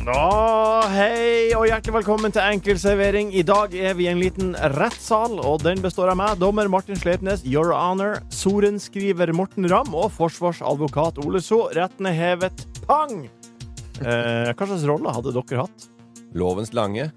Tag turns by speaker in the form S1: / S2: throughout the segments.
S1: Nå, hei og hjertelig velkommen til Enkel servering. I dag er vi i en liten rettssal, og den består av meg, dommer Martin Sleipnes, Your Honor, sorenskriver Morten Ramm og forsvarsadvokat Ole So. Retten er hevet. Pang! Eh, hva slags rolle hadde dere hatt?
S2: Lovens lange.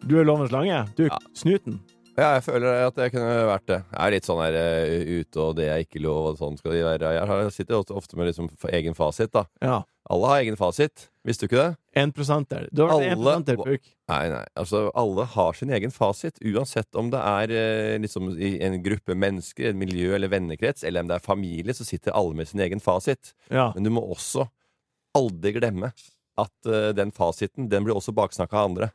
S1: Du er lovens lange. Du,
S2: Ja.
S1: snuten.
S2: Ja, jeg føler at jeg kunne vært det. Jeg er litt sånn her eh, ute og det jeg ikke lov, og sånn skal de være. Jeg har- sitter ofte- ofte med liksom egen fasit, da.
S1: Ja.
S2: Alle har egen fasit. Visste du ikke det?
S1: 1 der. Du har vært
S2: Alle-
S1: 1 der, Puk.
S2: Nei, nei, altså alle har sin egen fasit, uansett om det er eh, liksom i en gruppe mennesker, en miljø eller vennekrets, eller om det er familie, så sitter alle med sin egen fasit.
S1: Ja.
S2: Men du må også aldri glemme at eh, den fasiten, den blir også baksnakka av andre.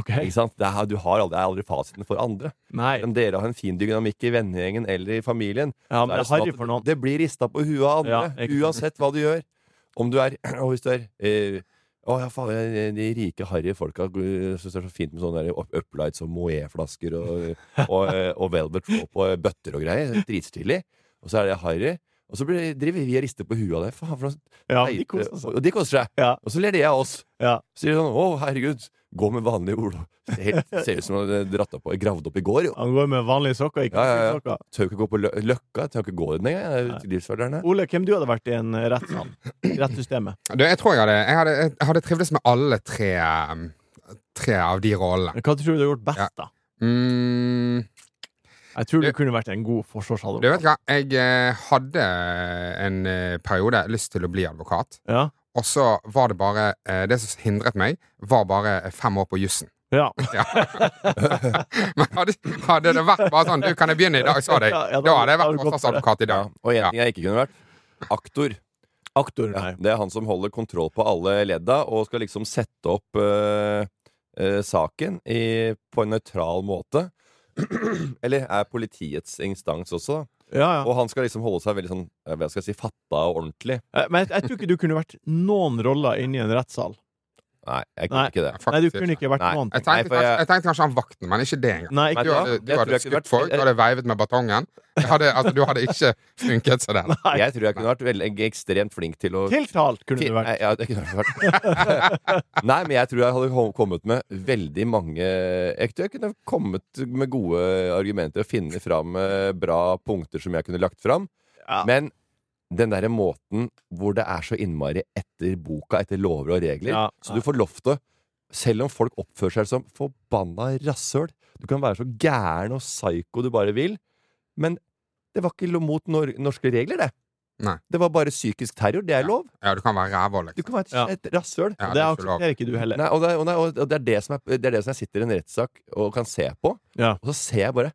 S1: OK.
S2: Ikke sant? Det er, du har aldri, det er aldri fasiten for andre.
S1: Nei.
S2: Om dere har en fin dynamikk i vennegjengen eller i familien,
S1: Ja,
S2: så
S1: men det
S2: er det
S1: er
S2: sånn
S1: harry
S2: at
S1: for noen.
S2: det blir rista på huet av andre,
S1: Ja, ikke sant.
S2: uansett hva du gjør. Om du er Og hvis du er eh, å ja, faen, jeg- de rike harry folka eh, synes det er så fint med sånne der up- uplights og Moët-flasker og, og, eh, og Velvet Rope og bøtter og greier. Dritstilig. Og så er det harry. Og så blir, driver vi og rister på huet av det. Faen, for noe
S1: Ja, men de
S2: teite-
S1: koser seg.
S2: Og de koser seg.
S1: Ja.
S2: Og så ler de av oss.
S1: Ja.
S2: Så sier de sånn Å, herregud, gå med vanlige ord. Ser helt- Ser ut som han er dratt opp og gravd opp i går, jo.
S1: Han går med vanlige sokker, ikke
S2: Ja, ja, ja.
S1: sokker.
S2: Tør ikke gå på lø Løkka. Tør ikke gå den engang. Livsverderne.
S1: Ole, hvem du hadde vært i en rettssal? I rettssystemet.
S3: Du, jeg tror jeg hadde, jeg hadde, jeg hadde trivdes med alle tre, um, tre av de rollene.
S1: Hva tror du du har gjort best, da?
S3: Mm,
S1: Jeg tror du
S3: Du-
S1: kunne vært en god
S3: du vet
S1: forsvarsadvokat.
S3: hva, jeg eh, hadde en eh, periode lyst til å bli advokat.
S1: Ja.
S3: Og så var det bare eh, Det som hindret meg, var bare fem år på jussen.
S1: Ja.
S3: Ja. Men hadde, hadde det vært bare sånn Du, kan jeg begynne i dag? Så hadde jeg,
S1: Ja, ja, da-
S3: da hadde jeg
S1: da hadde
S3: vært
S1: du gått for det.
S3: forsvarsadvokat i
S2: Ja.
S3: dag.
S2: Og en
S3: Ja.
S2: ting jeg ikke kunne vært. Aktor.
S1: Aktor, nei.
S2: Det er han som holder kontroll på alle ledda og skal liksom sette opp eh, eh, saken i, på en nøytral måte. Eller er politiets instans også. da.
S1: Ja, ja.
S2: Og han skal liksom holde seg veldig sånn eh, hva skal jeg si, fatta og ordentlig.
S1: Eh, Men jeg, jeg tror ikke du kunne vært noen roller inne i en rettssal.
S2: Nei, jeg
S1: Nei.
S2: kunne ikke det.
S3: Faktisk
S1: Nei, du
S3: ikke.
S1: kunne ikke vært
S2: Nei.
S1: noen.
S3: Jeg
S2: Nei,
S3: tenkte,
S2: for jeg- Mm,
S3: kanskje, jeg tenkte kanskje han vakten, men ikke det engang.
S1: Nei,
S2: Vet
S3: Du
S1: ikke
S2: hva?
S3: hadde, du
S2: Jeg tror
S3: hadde
S2: jeg kunne
S3: skutt
S2: vært-
S3: folk, du hadde veivet med batongen. Jeg Hadde, altså, du hadde ikke funket som den.
S1: Nei.
S2: Jeg tror jeg kunne vært veldig ekstremt flink til å
S1: Tiltalt kunne du vært.
S2: Nei, ja, det kunne jeg vært. Nei, men jeg tror jeg hadde kom- kommet med veldig mange Jeg tror jeg kunne kommet med gode argumenter og finne fram eh, bra punkter som jeg kunne lagt fram.
S1: Ja.
S2: Men den derre måten hvor det er så innmari etter boka, etter lover og regler,
S1: Ja.
S2: så du får lov til å Selv om folk oppfører seg som forbanna rasshøl Du kan være så gæren og psyko du bare vil, men det var ikke lo- mot nor norske regler, det.
S3: Nei.
S2: Det var bare psykisk terror. Det er lov.
S3: Ja, du kan være rævhål,
S2: Du
S3: liksom.
S2: kan være et,
S1: Ja.
S2: et rasshøl.
S3: Ja,
S1: Det
S3: er ikke lov.
S1: aksepterer ikke du heller.
S2: Nei, og, det, er- og, nei, og det, er det, som er, det er det som jeg sitter i en rettssak og kan se på.
S1: Ja.
S2: Og så ser jeg bare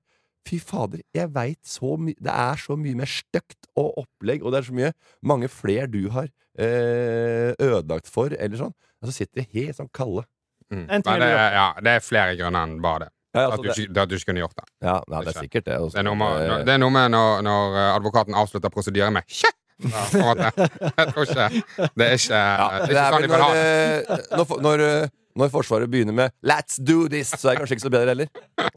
S2: Fy fader, jeg veit så mye Det er så mye mer støkt og opplegg, og det er så mye mange flere du har eh, ødelagt for, eller sånn. Og så sitter de helt sånn kalde.
S3: Mm.
S1: En ting
S3: Men det,
S1: jeg
S3: ja, det er flere grunner enn bare det.
S2: Ja,
S3: At du,
S2: Altså, det,
S3: ikke- at du ikke kunne gjort det.
S2: ja, nei, det er sikkert det. og så-
S3: Det er noe med,
S2: eh,
S3: det er noe med når, når eh, advokaten avslutter prosedyren med «Tje!» Ja, på en måte. Jeg tror ikke Det er ikke,
S2: ja,
S3: det er
S2: det
S3: ikke
S2: er
S3: sånn
S2: vel
S3: de vil ha
S2: når,
S3: det.
S2: eh, når, for- når, eh, når Forsvaret begynner med 'Let's do this', så er det kanskje ikke så bedre heller.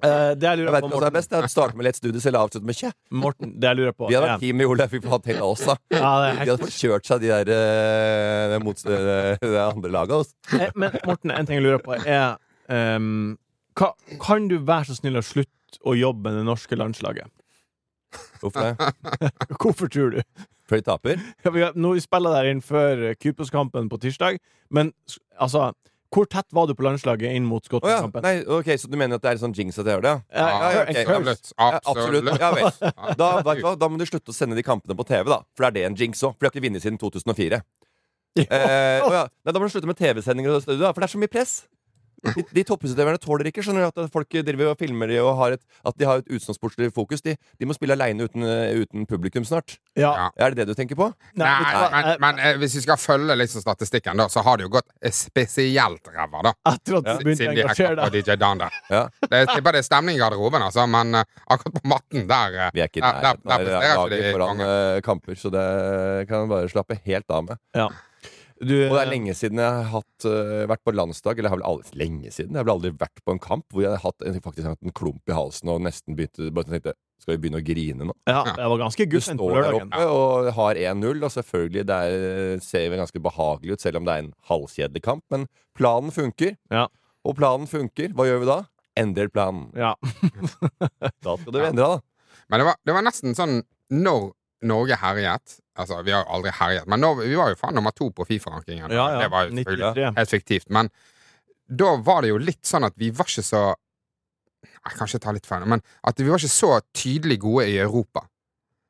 S1: Eh, Det jeg
S2: Jeg
S1: lurer
S2: vet
S1: på,
S2: ikke hva som er
S1: Morten,
S2: best. Jeg starter med 'Let's do this' eller avslutter med 'Tja'.
S1: Morten det jeg lurer på
S2: Vi hadde
S1: er-
S2: vært team i Ole Fy faen, hele oss, da.
S1: ja, det er
S2: De
S1: helt
S2: hadde fått kjørt seg, de der eh, det motst- det- det andre laget. Altså.
S1: Eh, Men Morten, en ting jeg lurer på er ehm, hva, Kan du være så snill å slutte å jobbe med det norske landslaget?
S2: Hvorfor det?
S1: Hvorfor tror du?
S2: Fordi de taper?
S1: Ja, vi har- Nå vi spiller der inn før eh, Kypros-kampen på tirsdag, men s- altså Hvor tett var du på landslaget inn mot
S2: Å ja.
S1: Skottland-kampen?
S2: Nei, ok, så du mener at det er sånn jinx at jeg gjør det? ja?
S1: Eh,
S2: ja,
S1: en
S2: ok.
S1: curse.
S3: Absolutt.
S2: Ja, absolutt.
S3: Absolutt.
S2: Ja, vel. Da, vet du hva? da må du slutte å sende de kampene på TV, da. For det er det en jinx òg. For de har ikke vunnet siden 2004. Eh, å ja. Nei, da må du slutte med TV-sendinger, og det, da, for det er så mye press. De, de toppidrettsutøverne tåler ikke skjønner du, at folk driver og filmer de og har et, at de har et utensportslig fokus. De, de må spille aleine uten, eh, uten publikum snart.
S1: Ja.
S2: Er det det du tenker på?
S3: Nei,
S1: vet du hva?
S3: men,
S1: Jeg-
S3: men eh, hvis vi skal følge liksom statistikken, da, så har det jo gått eh, spesielt ræva, da.
S1: Etter at du begynte å
S3: Siden de hacka
S1: engasjere
S3: på
S1: deg.
S3: DJ Dan der.
S2: Ja.
S3: Det er tipper det er stemning i garderoben, altså, men eh, akkurat på matten der eh,
S2: Vi er ikke i
S3: Ja, der-
S2: nærheten av
S3: der presterer ikke
S2: laget
S3: de
S2: foran eh, kamper, så det kan jeg bare slappe helt av med.
S1: Ja. Du,
S2: Og det er lenge siden jeg har hatt, eh, vært på landsdag. Eller jeg har vel aldri, lenge siden. Jeg har vel aldri vært på en kamp hvor jeg har hatt en, faktisk hatt en klump i halsen og nesten begynte bare tenkte Skal vi begynne å grine nå?
S1: ja, jeg var ganske
S2: Du
S1: guffen på
S2: står der
S1: lørdagen.
S2: oppe og har 1-0, og selvfølgelig det er, ser jo ganske behagelig ut, selv om det er en halvkjedelig kamp. Men planen funker.
S1: Ja.
S2: Og planen funker. Hva gjør vi da? Endrer planen.
S1: Ja.
S2: Da skal du endre, da.
S3: Men det var, det var nesten sånn når Norge herjet Altså, vi har jo aldri herjet, men når, vi var jo faen nummer to på Fifa-rankingen.
S1: ja, ja.
S3: Det var jo selvfølgelig
S1: 93.
S3: helt fiktivt. Men da var det jo litt sånn at vi var ikke så Jeg kan ikke ta litt feil, men at vi var ikke så tydelig gode i Europa.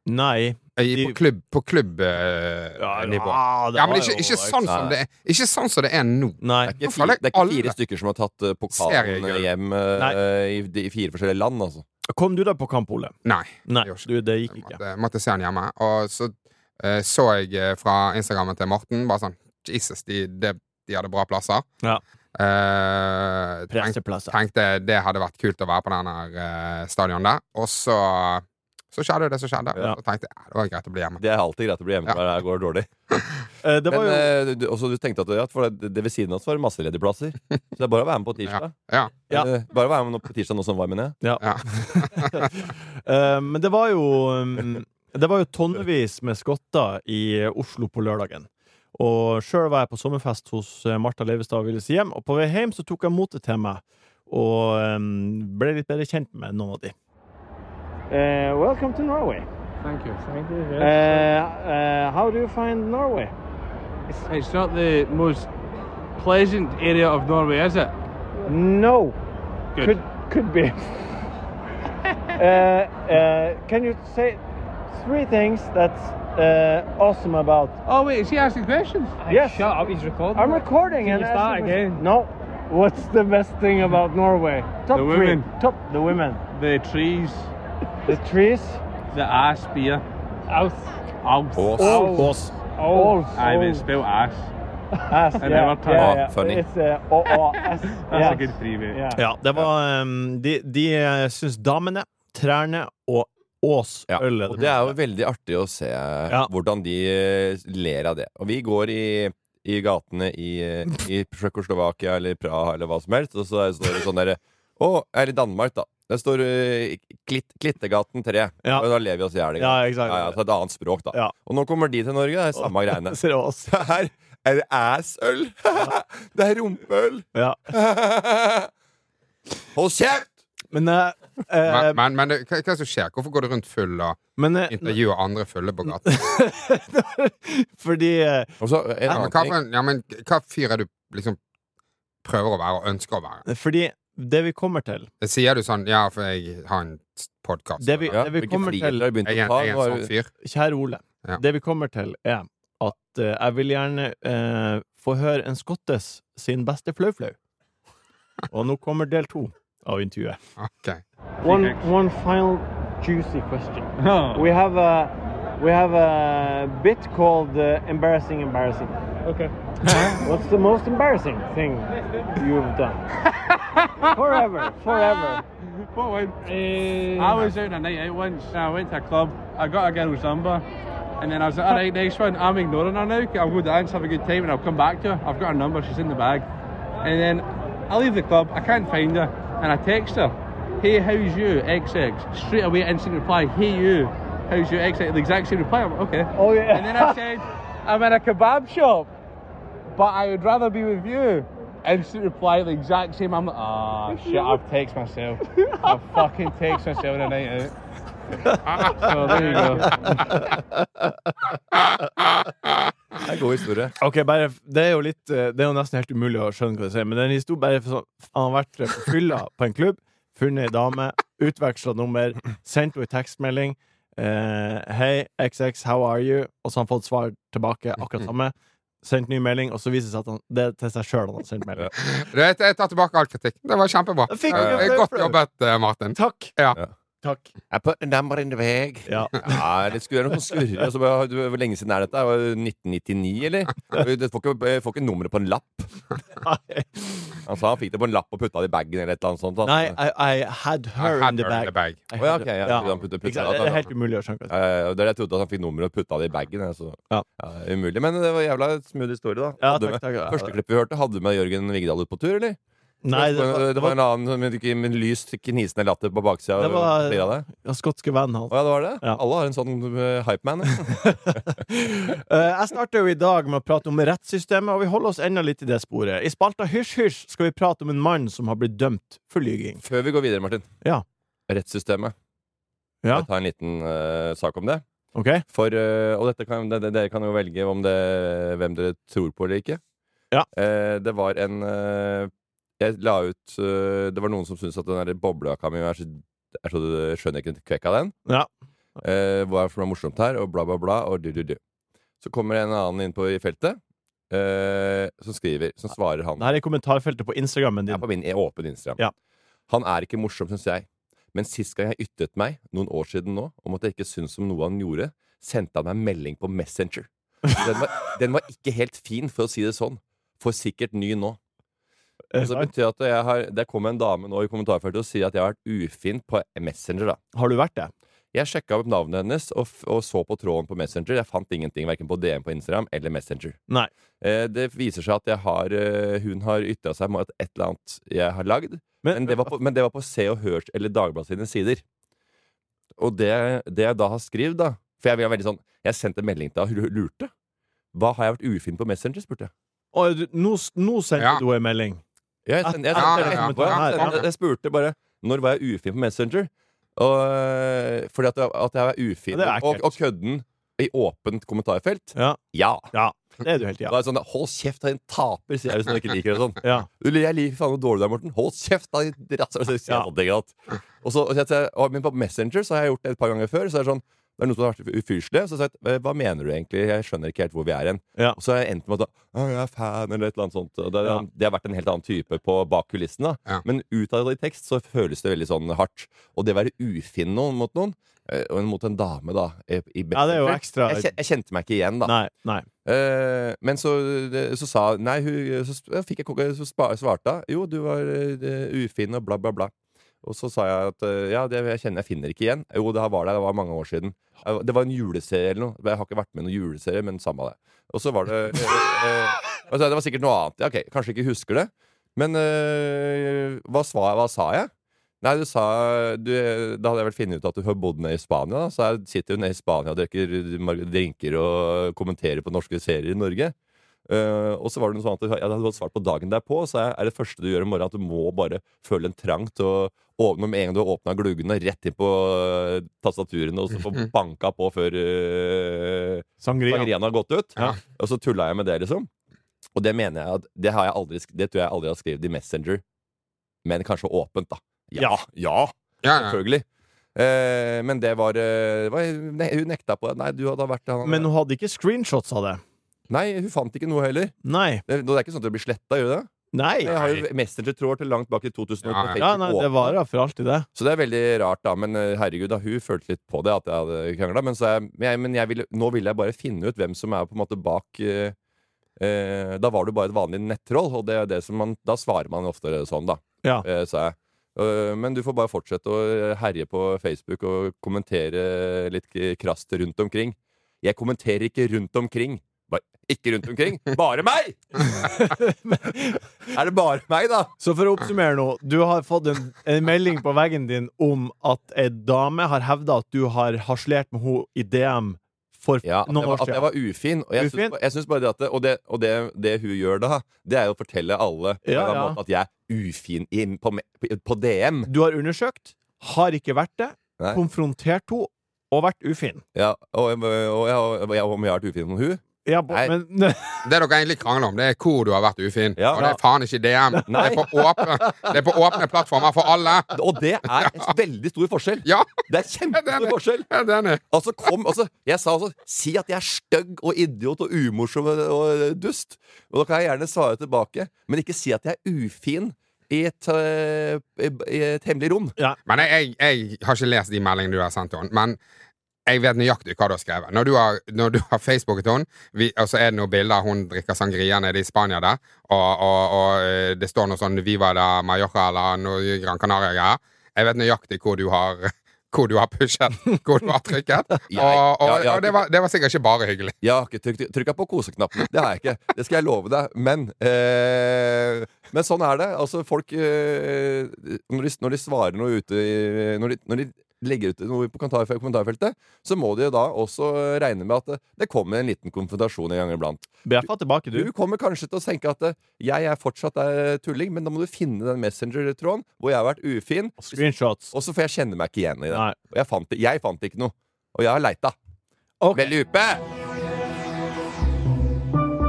S1: Nei.
S3: I,
S1: De-
S3: på klubb, på klubbnivå.
S1: Ja, ja,
S3: Ja,
S1: det
S3: men
S1: har
S3: ikke,
S1: jo
S3: ikke,
S1: vært-
S3: sånn som det er, ikke sånn som det er nå.
S1: Nei.
S2: Det er ikke fire,
S3: Hvorfor er det
S2: det er ikke
S3: alle?
S2: fire stykker som har tatt eh, pokalen
S3: Seriegull.
S2: hjem eh,
S1: Nei.
S2: i, de- i fire forskjellige land, altså.
S1: Kom du deg på kamp, Ole?
S3: Nei.
S1: Nei,
S3: Det gjorde ikke
S1: du, det gikk
S3: Jeg
S1: ikke.
S3: måtte, måtte se han hjemme. Og så eh, så jeg eh, fra Instagrammen til Morten bare sånn Jesus, de, de, de hadde bra plasser.
S1: Ja.
S3: Eh, tenk,
S1: Presseplasser.
S3: tenkte det hadde vært kult å være på den her eh, stadion der. Og så, så skjedde det som skjedde.
S1: Ja.
S3: Og så tenkte jeg ja, det var greit å bli hjemme.
S2: Det er alltid greit å bli hjemme
S3: Ja.
S2: når det går dårlig.
S1: Eh, Det var
S2: Men
S1: jo
S2: eh, du, også, du tenkte at ja, for det, det ved siden av oss var det masse ledige plasser. Så det er bare å være med på tirsdag.
S3: Ja.
S1: Ja.
S2: Eh, Bare å være med nå på tirsdag nå som var, mener jeg.
S3: ja.
S1: Eh, Men det var jo um, Det var jo tonnevis med skotter i Oslo på lørdagen. Og sjøl var jeg på sommerfest hos eh, Martha Leivestad og Willis hjem, og på vei hjem så tok jeg motet til meg og um, ble litt bedre kjent med noen av de. Eh, welcome to Norway. Eh,
S4: Thank you. Thank you.
S1: how do you find Norway?
S4: It's not the most pleasant area of Norway, is it?
S1: No.
S4: Good. Could-
S1: could be. Eh, can you say three things that's eh, awesome about
S4: Oh wait, is he asking questions?
S1: Yes.
S5: Shut up, he's recording.
S1: I'm recording
S5: Can
S1: and
S5: you start
S1: asking-
S5: again?
S1: No. What's the best thing about Norway? Top
S4: The
S1: three.
S4: women.
S1: Top the women.
S4: The trees,
S1: The trees.
S4: the ass beer.
S5: Out.
S4: Alps.
S2: Ås.
S1: Ås.
S5: Oh.
S4: I mean, spell ass.
S1: Ass,
S4: I
S1: yeah,
S4: never tried.
S1: yeah,
S2: Ah,
S1: yeah.
S2: funny.
S1: It's uh, O O S.
S4: That's
S1: yes.
S4: a good three, mate.
S1: Yeah. Ja, det var um, De, de eh, syns damene, trærne og Ås
S2: Ja.
S1: øl
S2: Og det er jo veldig artig å se hvordan de eh, ler av det. Og vi går i i gatene i, eh, i Tsjekkoslovakia eller Praha eller hva som helst, og så er- står det sånn derre Å, eller Danmark, da. Det står eh, klitt, Klittegaten 3.
S1: Ja.
S2: Og da ler vi oss i hjel. ikke
S1: Ja,
S2: sant?
S1: exakt.
S2: Ja, ja, så et annet språk, da.
S1: Ja.
S2: Og nå kommer de til Norge, det er samme greiene.
S1: Ser du Ås?
S2: Det her er assøl. Det er rumpeøl.
S1: Ja.
S2: Hold kjeft!
S1: Men eh, eh,
S3: Men, men, men det, hva, hva er det som skjer? Hvorfor går du rundt full og
S1: Men eh,
S3: intervjuer andre fulle på gaten?
S1: fordi eh,
S2: Og så en
S3: Ja, men
S2: annen
S3: hva,
S2: ting.
S3: for en- ja, men hva fyr er du liksom prøver å være og ønsker å være?
S1: Fordi det vi kommer til
S3: Sier du sånn Ja, for jeg har en podkast.
S1: Det vi,
S3: Jeg
S2: Ja,
S1: det vi
S2: hvilke
S1: kommer
S2: friheter
S1: til
S2: har du begynt
S3: er
S2: å
S3: en,
S2: ta?
S3: jeg er
S2: Var-
S3: en sånn fyr.
S1: Kjære Ole,
S3: Ja.
S1: det vi kommer til er at eh, jeg vil gjerne eh, få høre en skottes sin beste flau-flau. Og nå kommer del to av intervjuet.
S3: Ok.
S4: One-
S1: one final juicy question.
S4: Oh.
S1: have a We have a bit called uh, embarrassing embarrassing.
S5: Okay.
S1: What's the most embarrassing thing you've done? Forever, forever.
S4: What one?
S5: Uh,
S4: I was out on a night out once. and I went to a club. I got a girl's number. And then I was like, all right, next one. I'm ignoring her now. I'll go dance, have a good time, and I'll come back to her. I've got her number. She's in the bag. And then I leave the club. I can't find her. And I text her, hey, how's you? XX. Straight away, instant reply, hey, you. How's you? XX. The exact same reply. I'm like, okay.
S1: Oh, yeah.
S4: And then I said, I'm in a kebab shop, but I would rather be with you. Instant reply, the exact same. I'm like, ah, shit, I've texted myself. I've fucking texted myself the night out. So there you go.
S2: Det er god historie.
S1: Ok, bare, Det er jo litt eh, Det er jo nesten helt umulig å skjønne hva du sier, men den historien bare for sånn Han har vært eh, på fylla på en klubb, funnet ei dame, utveksla nummer, sendt henne en tekstmelding. Eh, Hei, XX, how are you? Og så har han fått svar tilbake, akkurat samme. sendt ny melding, og så viser det seg at han, det er til seg sjøl han har sendt melding.
S3: Du vet, Jeg tar tilbake all kritikk. Det var kjempebra.
S1: Jeg fikk
S3: Eh,
S1: ikke
S3: Godt
S1: flere.
S3: jobbet, eh, Martin.
S1: Takk!
S3: Ja.
S1: Takk.
S2: I put a number in the bag.
S1: Ja.
S2: Ja, det skulle være noe som skurrer. Altså, bare, du, hvor lenge siden er dette? Var det 1999, eller? Du får ikke, får ikke nummeret på en lapp.
S1: Nei,
S2: Han sa han fikk det på en lapp og putta det i bagen eller et eller annet sånt. da.
S1: Nei I, I had her in the bag. I
S2: Å, ja,
S1: had-
S2: ok, ja. Han putter-
S1: Ikke sant?
S2: putter det, da,
S1: Det er
S2: da.
S1: helt umulig å skjønne.
S2: Ja, ja, ja, Eh, det er det jeg trodde at han fikk nummeret og putta det i bagen. Altså.
S1: Ja.
S2: det er umulig. Men det var jævla smooth historie, da.
S1: Ja,
S2: Hadde
S1: takk,
S2: med-
S1: takk, ja.
S2: Første klipp vi hørte, hadde du med Jørgen Vigdal ut på tur, eller?
S1: Nei,
S2: det, var, det var en annen med, ikke- med lys, knisende latter på baksida.
S1: Det var-
S2: flere av deg.
S1: Ja, skotske vennen hans.
S2: Å ja, det var det?
S1: Ja.
S2: Alle har en sånn eh, hypeman. ja.
S1: Eh, Jeg starter jo i dag med å prate om rettssystemet, og vi holder oss enda litt i det sporet. I spalta Hysj hysj skal vi prate om en mann som har blitt dømt for lyging.
S2: Før vi går videre, Martin.
S1: Ja.
S2: Rettssystemet.
S1: Ja.
S2: Jeg tar en liten eh, sak om det.
S1: Ok?
S2: For, eh, og dette kan, det, det, dere kan jo velge om det, hvem dere tror på eller ikke.
S1: Ja.
S2: Eh, det var en eh, Jeg la ut eh, Det var noen som syntes at den der boblejakka mi er så, er så skjønner ikke kvekk av den.
S1: Ja.
S2: Eh, hva er det som er morsomt her? Og bla, bla, bla. Og du, du, du. Så kommer en annen inn på i feltet, eh, som skriver, som svarer han.
S1: Det her er i kommentarfeltet på Instagrammen
S2: Det
S1: din.
S2: er på min e- åpen Instagram.
S1: Ja.
S2: Han er ikke morsom, syns jeg. Men sist gang jeg ytret meg, noen år siden nå, om at jeg ikke syntes om noe han gjorde, sendte han meg en melding på Messenger. Den var, den var ikke helt fin, for å si det sånn. For sikkert ny nå.
S1: Eh,
S2: Så det betyr at jeg har, Der kom en dame nå i kommentarfeltet og sier at jeg har vært ufin på Messenger. da
S1: Har du vært det?
S2: Jeg sjekka opp navnet hennes og, f og så på tråden på Messenger. Jeg fant ingenting, verken på DM på Instagram eller Messenger.
S1: Nei.
S2: Eh, det viser seg at jeg har, eh, hun har ytra seg mot et eller annet jeg har lagd. Men det var på, men det var på Se og Hørs eller Dagbladet sine sider. Og det, det jeg da har skrevet, da For jeg var veldig sånn Jeg sendte en melding til henne og lurte. Hva har jeg vært ufin på Messenger? spurte jeg.
S1: Oi, du- nå, s- nå sendte
S3: Ja.
S1: du en melding.
S2: Jeg, sendte- jeg, sendte
S3: Ja, Ah, ja, ja.
S2: etterpå, jeg,
S3: Ja, ja.
S2: jeg spurte bare når var jeg ufin på Messenger. Og, øh, fordi at jeg, at jeg var ufin.
S1: Ja, det er
S2: og,
S1: ekkelt.
S2: og kødden i åpent kommentarfelt.
S1: Ja.
S2: Ja!
S1: Det er du helt
S2: Det
S1: ja.
S2: var sånn, Hold kjeft, da, din taper, sier jeg hvis jeg ikke liker det sånn.
S1: ja.
S2: Du, Jeg liker faen hvor dårlig du er, Morten. Hold kjeft! da, din rass- Så sier jeg
S1: Ja.
S2: sånn, det er greit. Og så, og så, sier jeg- og, men på Messenger så har jeg gjort det et par ganger før. Så er det sånn det er noen som har vært ufyselige. Så har jeg sagt «Eh, Hva mener du egentlig? Jeg skjønner ikke helt hvor vi er hen.
S1: Ja.
S2: Og så har jeg endt med at «Å, jeg er fan, eller et eller annet sånt. Og det,
S1: Ja.
S2: det har vært en helt annen type på bak kulissene. da.
S3: Ja.
S2: Men utad i tekst så føles det veldig sånn hardt. Og det å være ufin noen, mot noen, eh, og mot en dame, da, i, i
S1: Ja, det er jo
S2: Messenger,
S1: ekstra-
S2: Jeg, kjen- jeg kjente meg ikke igjen, da.
S1: Nei. nei.
S2: Eh, men så, så sa Nei, hun så, sp- fikk jeg, kokke- så spa- svarte hun Jo, du var eh, ufin og bla, bla, bla. Og så sa jeg at eh, ja, det jeg kjenner jeg finner ikke igjen. Jo, det her var der, det var mange år siden. Jeg- Det var en juleserie eller noe. Jeg har ikke vært med i noen juleserie, men samme det. Og så var det eh, eh, altså, Det var sikkert noe annet. Ja, ok, kanskje ikke husker det. Men eh, hva, sva, hva sa jeg? Nei, du sa du, Da hadde jeg vel funnet ut at du har bodd nede i Spania. Da. Så jeg sitter jo nede i Spania og drikker mar- drinker og kommenterer på norske serier i Norge. Eh, og så var det noe sånn at jeg hadde svart på dagen derpå. Så jeg, er det første du gjør om morgenen, at du må bare føle en trang til å åpne med en gang du har åpna gluggene, rett inn på eh, tastaturene og så få banka på før eh,
S1: Sangria.
S2: Sangrian har gått ut.
S3: Ja.
S2: Og så tulla jeg med det, liksom. Og det mener jeg at Det, har jeg aldri, sk- det tror jeg aldri jeg har skrevet i Messenger. Men kanskje åpent, da. Ja, ja,
S3: Ja, ja.
S2: selvfølgelig. Eh, men det var, eh, det var ne, Hun nekta på det. Nei, du hadde vært han,
S1: Men hun hadde ikke screenshots av det.
S2: Nei, hun fant ikke noe heller.
S1: Nei.
S2: Det, det er ikke sånn at det blir sletta, gjør det?
S1: Nei.
S2: Jeg har jo Messenger-tråder til langt bak i 2000.
S3: Ja, ja.
S1: Ja, nei, det varer for alltid, det.
S2: Så det er veldig rart, da. Men eh, herregud, da, hun følte litt på det at jeg hadde krangla. Men, så jeg, men jeg, men jeg ville, nå ville jeg bare finne ut hvem som er på en måte bak eh, eh, Da var du bare et vanlig nettroll, og det er det som man, da svarer man ofte sånn, da.
S1: Ja.
S2: Eh, sa jeg. Eh, men du får bare fortsette å eh, herje på Facebook og kommentere litt k- krast rundt omkring. Jeg kommenterer ikke rundt omkring. Bare, ikke rundt omkring. Bare meg! er det bare meg, da?
S1: Så for å oppsummere nå, du har fått en, en melding på veggen din om at ei dame har hevda at du har harselert med henne i DM for
S2: Ja, at, jeg
S1: noen
S2: var,
S1: år
S2: at jeg
S1: siden.
S2: var ufin. Og jeg,
S1: Ufin?
S2: Synes, jeg synes bare det at det, Og, det, og det, det hun gjør da, det er jo å fortelle alle på
S1: Ja,
S2: en eller annen
S1: ja.
S2: måte at jeg er ufin i, på, me- på- på DM.
S1: Du har undersøkt, har ikke vært det,
S2: Nei.
S1: konfrontert henne og vært ufin.
S2: Ja, og, og, og, og, og, og om jeg har vært ufin med hun?
S1: Ja, bo,
S2: Nei.
S1: men
S3: Det dere egentlig krangler om, det er hvor du har vært ufin.
S2: Ja.
S3: og det er faen ikke DM. Det
S2: Nei.
S3: er, på åpne, det er på åpne plattformer for alle.
S2: Og det er en veldig stor forskjell.
S3: Ja,
S2: Det er kjempestor forskjell.
S3: jeg er enig.
S2: Altså, kom, altså, jeg sa også Si at jeg er stygg og idiot og umorsom og, og dust. Og da kan jeg gjerne svare tilbake, men ikke si at jeg er ufin i et, eh, i, i et hemmelig rom.
S3: Men jeg, jeg, jeg har ikke lest de meldingene du har sendt til henne. Men jeg vet nøyaktig hva du har skrevet. Når du har, når du har Facebooket henne, vi- og så er det noen bilder hun drikker sangria nede i Spania der, og, og, og eh, det står noe sånn Viva de Mallorca eller noe Gran Canaria-greier. Jeg vet nøyaktig hvor du har hvor du har pushet, hvor du har trykket.
S2: Jeg-
S3: og og,
S2: ja, ja.
S3: og det, var, det var sikkert ikke bare hyggelig.
S2: Jeg har ikke trykt- trykka på koseknappen. Det har jeg ikke. Det skal jeg love deg. Men eh, Men sånn er det. Altså, folk eh, når, de, når de svarer noe ute i, når, de, når de legger ut noe på kommentarfe- kommentarfeltet, så må de jo da også regne med at det, det kommer en liten konfrontasjon en gang iblant.
S1: Beata tilbake,
S2: Du
S1: du.
S2: kommer kanskje til å tenke at eh, jeg er fortsatt eh, tulling, men da må du finne den messenger-tråden hvor jeg har vært ufin,
S1: Screenshots.
S2: og så får jeg kjenne meg ikke igjen i det.
S1: Nei.
S2: Og jeg fant, jeg fant ikke noe. Og jeg har leita.
S1: Ok.
S2: Med lupe!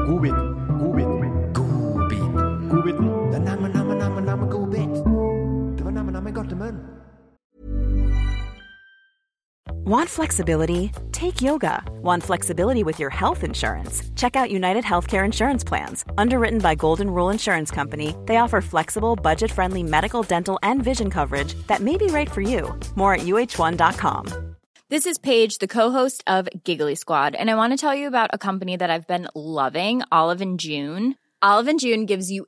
S1: Godbit. Godbit. Godbiten.
S5: Want flexibility? Take yoga. Want flexibility with your health insurance? Check out United Healthcare Insurance Plans. Underwritten by Golden Rule Insurance Company, they offer flexible, budget friendly medical, dental, and vision coverage that may be right for you. More at uh1.com.
S6: This is Paige, the co-host of Giggly Squad, and I want to tell you about a company that I've been loving, Olive and June. Olive and June gives you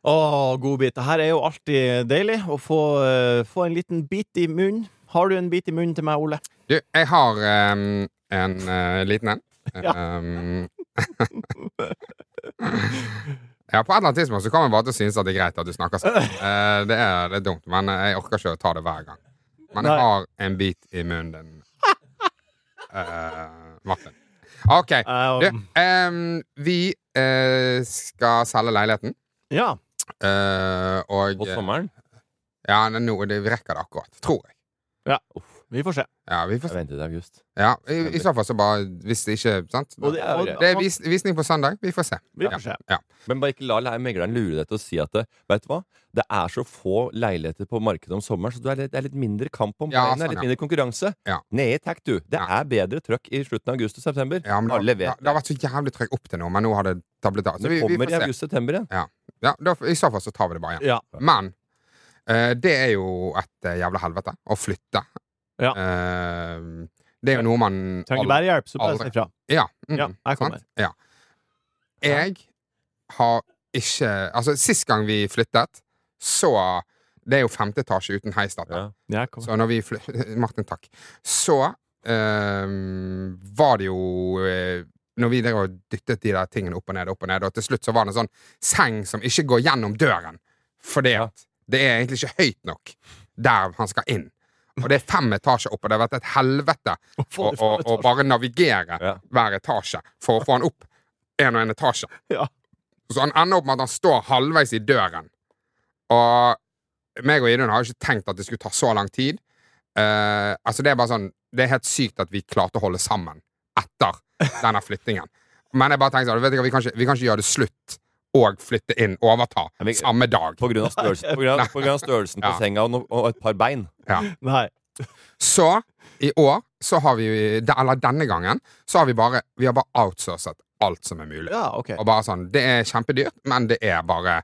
S1: Å, godbit. Det her er jo alltid deilig å få, eh, få en liten bit i munnen. Har du en bit i munnen til meg, Ole?
S3: Du, jeg har ehm, en eh, liten en. Ehm, ja, på et eller annet tidspunkt så kommer jeg bare til å synes at det er greit at du snakker sånn. Eh, det, er, det er dumt, men jeg orker ikke å ta det hver gang. Men jeg
S1: Nei.
S3: har en bit i munnen din, eh, Martin. OK. Du,
S1: Um,
S3: ehm, vi eh, skal selge leiligheten.
S1: ja.
S3: eh, og
S2: På sommeren.
S3: Ja, nå, det, vi rekker det akkurat. Tror jeg.
S1: ja. Vi får se.
S3: Ja, vi får,
S2: Jeg venter til august.
S3: ja, i, I så fall så bare Hvis det ikke sant?
S1: Og det- og-
S3: Det er vis, visning på søndag. Vi får se.
S1: Vi får se.
S3: Ja.
S2: Men bare ikke la le- megleren lure deg til å si at det, vet du hva? det er så få leiligheter på markedet om sommeren, så det er litt, det er litt mindre kamp om
S3: Ja,
S2: pengene. det er
S3: sånn,
S2: litt
S3: ja.
S2: mindre konkurranse.
S3: Ja.
S2: Nei takk, du. Det
S3: Ja.
S2: er bedre trøkk i slutten av august og september.
S3: Ja, men
S2: Alle
S3: det, har-
S2: vet
S3: det har vært så jævlig trøkk opp til nå, men nå har det tablet av. Så
S2: det
S3: vi, vi
S2: kommer i
S3: får se.
S2: august-september igjen.
S3: Ja, da, I så fall så tar vi det bare igjen.
S1: Ja.
S3: Men eh, det er jo et eh, jævla helvete å flytte.
S1: Ja.
S3: Eh, det er jo noe man
S1: Trenger du
S3: aldri-
S1: bærehjelp, så bare si
S3: Aldri.
S1: ifra.
S3: Ja. mm,
S1: Ja, jeg kommer.
S3: sant? Ja. Jeg har ikke Altså, sist gang vi flyttet, så Det er jo femte etasje uten heis, dette.
S2: Ja.
S1: Ja, jeg kommer.
S3: Så når vi fly- Martin, takk. Så ehm, var det jo eh, Når vi drev og dyttet de der tingene opp og ned, opp og ned, og til slutt så var det en sånn seng som ikke går gjennom døren. Fordi at det er egentlig ikke høyt nok der han skal inn. Og det er fem etasjer opp, og det har vært et helvete å
S1: få det
S3: å-
S1: fem
S3: å
S1: etasjer.
S3: bare navigere
S2: Ja.
S3: hver etasje for å få han opp en og en etasje.
S1: Ja.
S3: Så han ender opp med at han står halvveis i døren. Og meg og Idun har jo ikke tenkt at det skulle ta så lang tid. Eh, altså Det er bare sånn Det er helt sykt at vi klarte å holde sammen etter denne flyttingen. Men jeg bare tenkte sånn, vet du hva, vi kan, ikke, vi kan ikke gjøre det slutt og flytte inn, overta,
S2: Ja, vi-
S3: samme dag.
S2: På grunn av størrelsen på, grunn av, på, grunn av størrelsen på
S3: Ja.
S2: senga og, no, og et par bein.
S3: Ja.
S1: Nei.
S3: Så i år, så har vi eller denne gangen, så har vi bare Vi har bare outsourcet alt som er mulig.
S1: Ja, OK.
S3: Og bare sånn, Det er kjempedyrt, men det er bare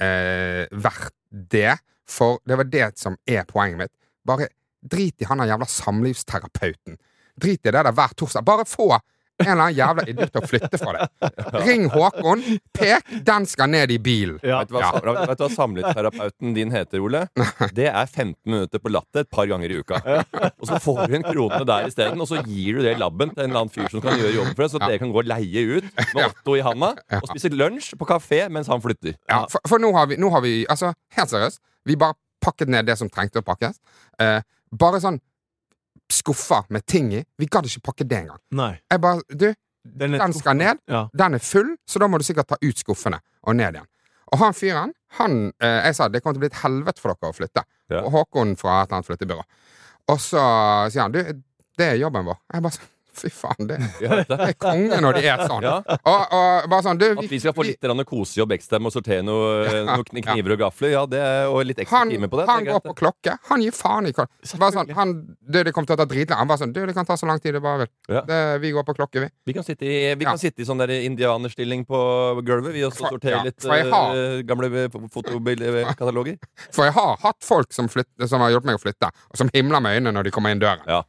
S3: eh, verdt det. For det var det som er poenget mitt. Bare drit i han der jævla samlivsterapeuten. Drit i det der hver torsdag. Bare få en eller annen jævla idiot til å flytte fra det. Ring Håkon, pek, den skal ned i bilen.
S1: Ja.
S2: Vet du, hva,
S3: Ja.
S2: sam- vet du hva samleterapeuten din heter, Ole? Det er 15 minutter på latter et par ganger i uka. Og så får du en krone der isteden, og så gir du det labben til en eller annen fyr som kan gjøre jobben for deg, så dere kan gå og leie ut med Otto i handa og spise lunsj på kafé mens han flytter.
S3: Ja, for, for nå har vi, nå har vi altså, Helt seriøst, vi bare pakket ned det som trengte å pakkes. Eh, bare sånn skuffer med ting i. Vi gadd ikke pakke det engang.
S1: Nei.
S3: Jeg bare Du,
S1: Den,
S3: den skal ned.
S1: Ja.
S3: Den er full, så da må du sikkert ta ut skuffene og ned igjen. Og han fyren, han eh, Jeg sa det kommer til å bli et helvete for dere å flytte.
S2: Ja.
S3: Og Håkon fra et eller annet flyttebyrå. Og så sier han du, det er jobben vår. Jeg bare sånn Fy faen, det
S2: Vi har dette.
S3: er konge når de er sånn.
S2: Ja.
S3: Og, og bare sånn, du
S2: At vi skal få litt grann kosejobb ekstra med å sortere noen
S3: Ja.
S2: noe kn- kniver og gafler, ja, det er, og litt ekstra
S3: han,
S2: time på det.
S3: han
S2: det er
S3: går
S2: greit,
S3: på klokke. Han gir faen i hva Bare sånn, han, du, det kommer til å ta dritlenge. Han bare sånn Du, det kan ta så lang tid du bare vil.
S2: Ja.
S3: Det, vi går på klokke, vi.
S2: Vi kan sitte i, vi
S3: Ja.
S2: kan sitte i sånn der indianerstilling på gulvet, vi også
S3: For-
S2: sorterer
S3: ja,
S2: litt
S3: for jeg har-
S2: eh, gamle eh, fotokataloger.
S3: For jeg har hatt folk som, flytt, som har hjulpet meg å flytte, og som himler med øynene når de kommer inn døren.
S2: Ja.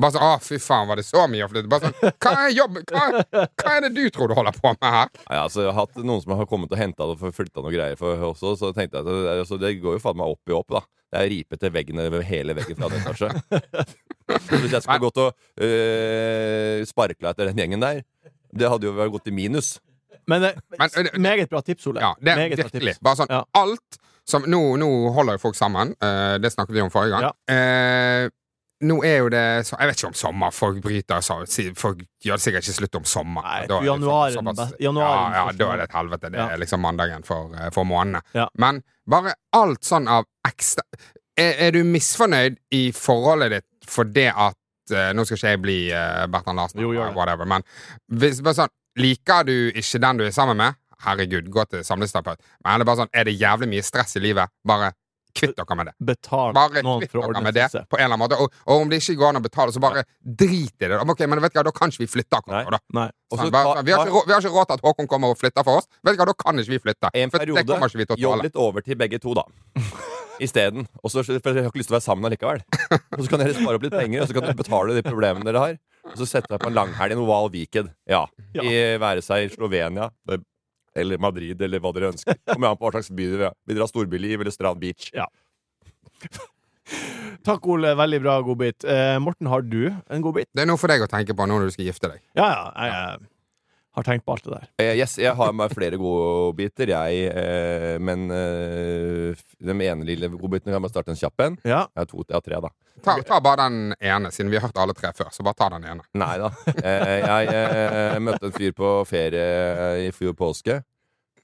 S3: Bare sånn Å, fy faen, var det så mye å flytte? Bare sånn Hva er jobben? Hva, hva er det du tror du holder på med her?
S2: Nei, altså, jeg har hatt noen som har kommet og henta det og flytta noe greier for også, så tenkte jeg at det, altså, det går jo faen meg opp i opp, da. Det er ripete veggen over hele veggen fra den etasje. Så Hvis jeg skulle gått og øh, sparkla etter den gjengen der, det hadde jo vært gått i minus.
S1: Men, eh,
S3: Men, eh,
S1: meget bra tips, Ole.
S3: Ja, det er
S1: meget bra
S3: virkelig.
S1: tips.
S3: Bare sånn,
S1: Ja.
S3: alt som, nå, nå holder jo folk sammen, eh, det snakket vi om forrige gang. Eh, nå er jo det så, Jeg vet ikke om sommer. Folk bryter så, si- Folk gjør det sikkert ikke slutt om sommer.
S1: Nei,
S3: Da er det
S1: januaren
S3: såpass-
S1: best- januaren
S3: ja, ja,
S1: første
S3: da er det et helvete. Det
S1: Ja.
S3: er liksom mandagen for, eh, for månedene.
S1: Ja.
S3: Men bare alt sånn av ekstra er, er du misfornøyd i forholdet ditt for det at eh, Nå skal ikke jeg bli eh, Bertrand Larsen,
S1: Jo, gjør det.
S3: whatever, men hvis, bare sånn, liker du ikke den du er sammen med, herregud, gå til samlivsterapeut. Men er det bare sånn, er det jævlig mye stress i livet, bare kvitt dere med det.
S1: Betal
S3: Bare
S1: noen
S3: kvitt
S1: for å
S3: dere
S1: ordne
S3: med det
S1: seg.
S3: på en eller annen måte. Og, og om det ikke går an å betale, så bare drit i det. da. Ok, men vet du hva, da kan ikke vi flytte
S2: Nei.
S3: akkurat nå, da.
S1: Nei.
S2: Og så
S3: Sånn, bare,
S2: ta-
S3: vi, har
S2: ta-
S3: ikke, rå- vi har ikke råd til at Håkon kommer og flytter for oss. Vet du hva, da kan ikke vi flytte.
S2: En
S3: For det kommer ikke vi
S2: periode
S3: til å
S2: jobb
S3: tåle.
S2: litt over til begge to, da. Isteden. Og så, for jeg har ikke lyst til å være sammen allikevel. Og så kan dere spare opp litt penger, og så kan dere betale de problemene dere har. Og så sette dere på en langhelg i en oval weekend. Ja.
S1: Ja.
S2: I, være seg i Slovenia eh, eller Madrid eller hva dere ønsker. Kommer an på hva slags by dere er. Vil dere ha storbyliv eller Strand Beach?
S1: Takk, Ole. Veldig bra godbit. Eh, Morten, har du en godbit?
S3: Det er noe for deg å tenke på nå når du skal gifte deg.
S1: Ja, ja. Jeg, eh, har tenkt på alt det der.
S2: Eh, yes, jeg har med flere godbiter, jeg. Eh, men eh, f- den ene lille godbiten kan jeg bare starte en kjapp en.
S1: Ja.
S2: Jeg har to, jeg har tre, da.
S3: Ta, ta bare den ene, siden vi har hørt alle tre før. Så bare ta den ene.
S2: Nei da. Eh, jeg eh, møtte en fyr på ferie eh, i fjor påske.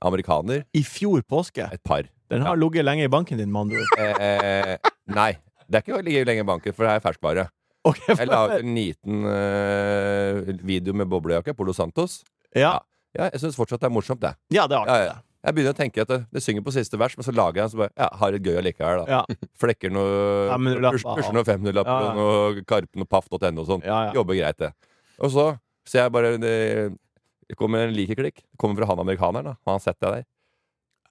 S2: Amerikaner.
S1: I fjor påske.
S2: Et par.
S1: Den har ligget lenge i banken din, med andre ord.
S2: Eh, nei. Det er ikke å ligge lenger i banken, for det er ferskvare.
S1: Ok,
S2: Jeg la ut en liten eh, video med boblejakke, Polo Santos.
S1: ja.
S2: Ja, jeg syns fortsatt det er morsomt, det.
S1: ja, det er
S2: Ja,
S1: artig.
S2: ja. Jeg begynner å tenke at det, det synger på siste vers, men så lager jeg en som bare ja, har det gøy allikevel. Da.
S1: Ja.
S2: Flekker noe
S1: Femhundrelapper,
S2: pus- Pusher
S1: ja.
S2: noe femhundrelapper
S1: Ja, ja.
S2: og noe Karpen og Paff.no og sånn.
S1: Ja, ja.
S2: Jobber greit, det. Og så ser jeg bare Det det kommer en likeklikk. Det kommer fra han amerikaneren. da Han har sett deg der.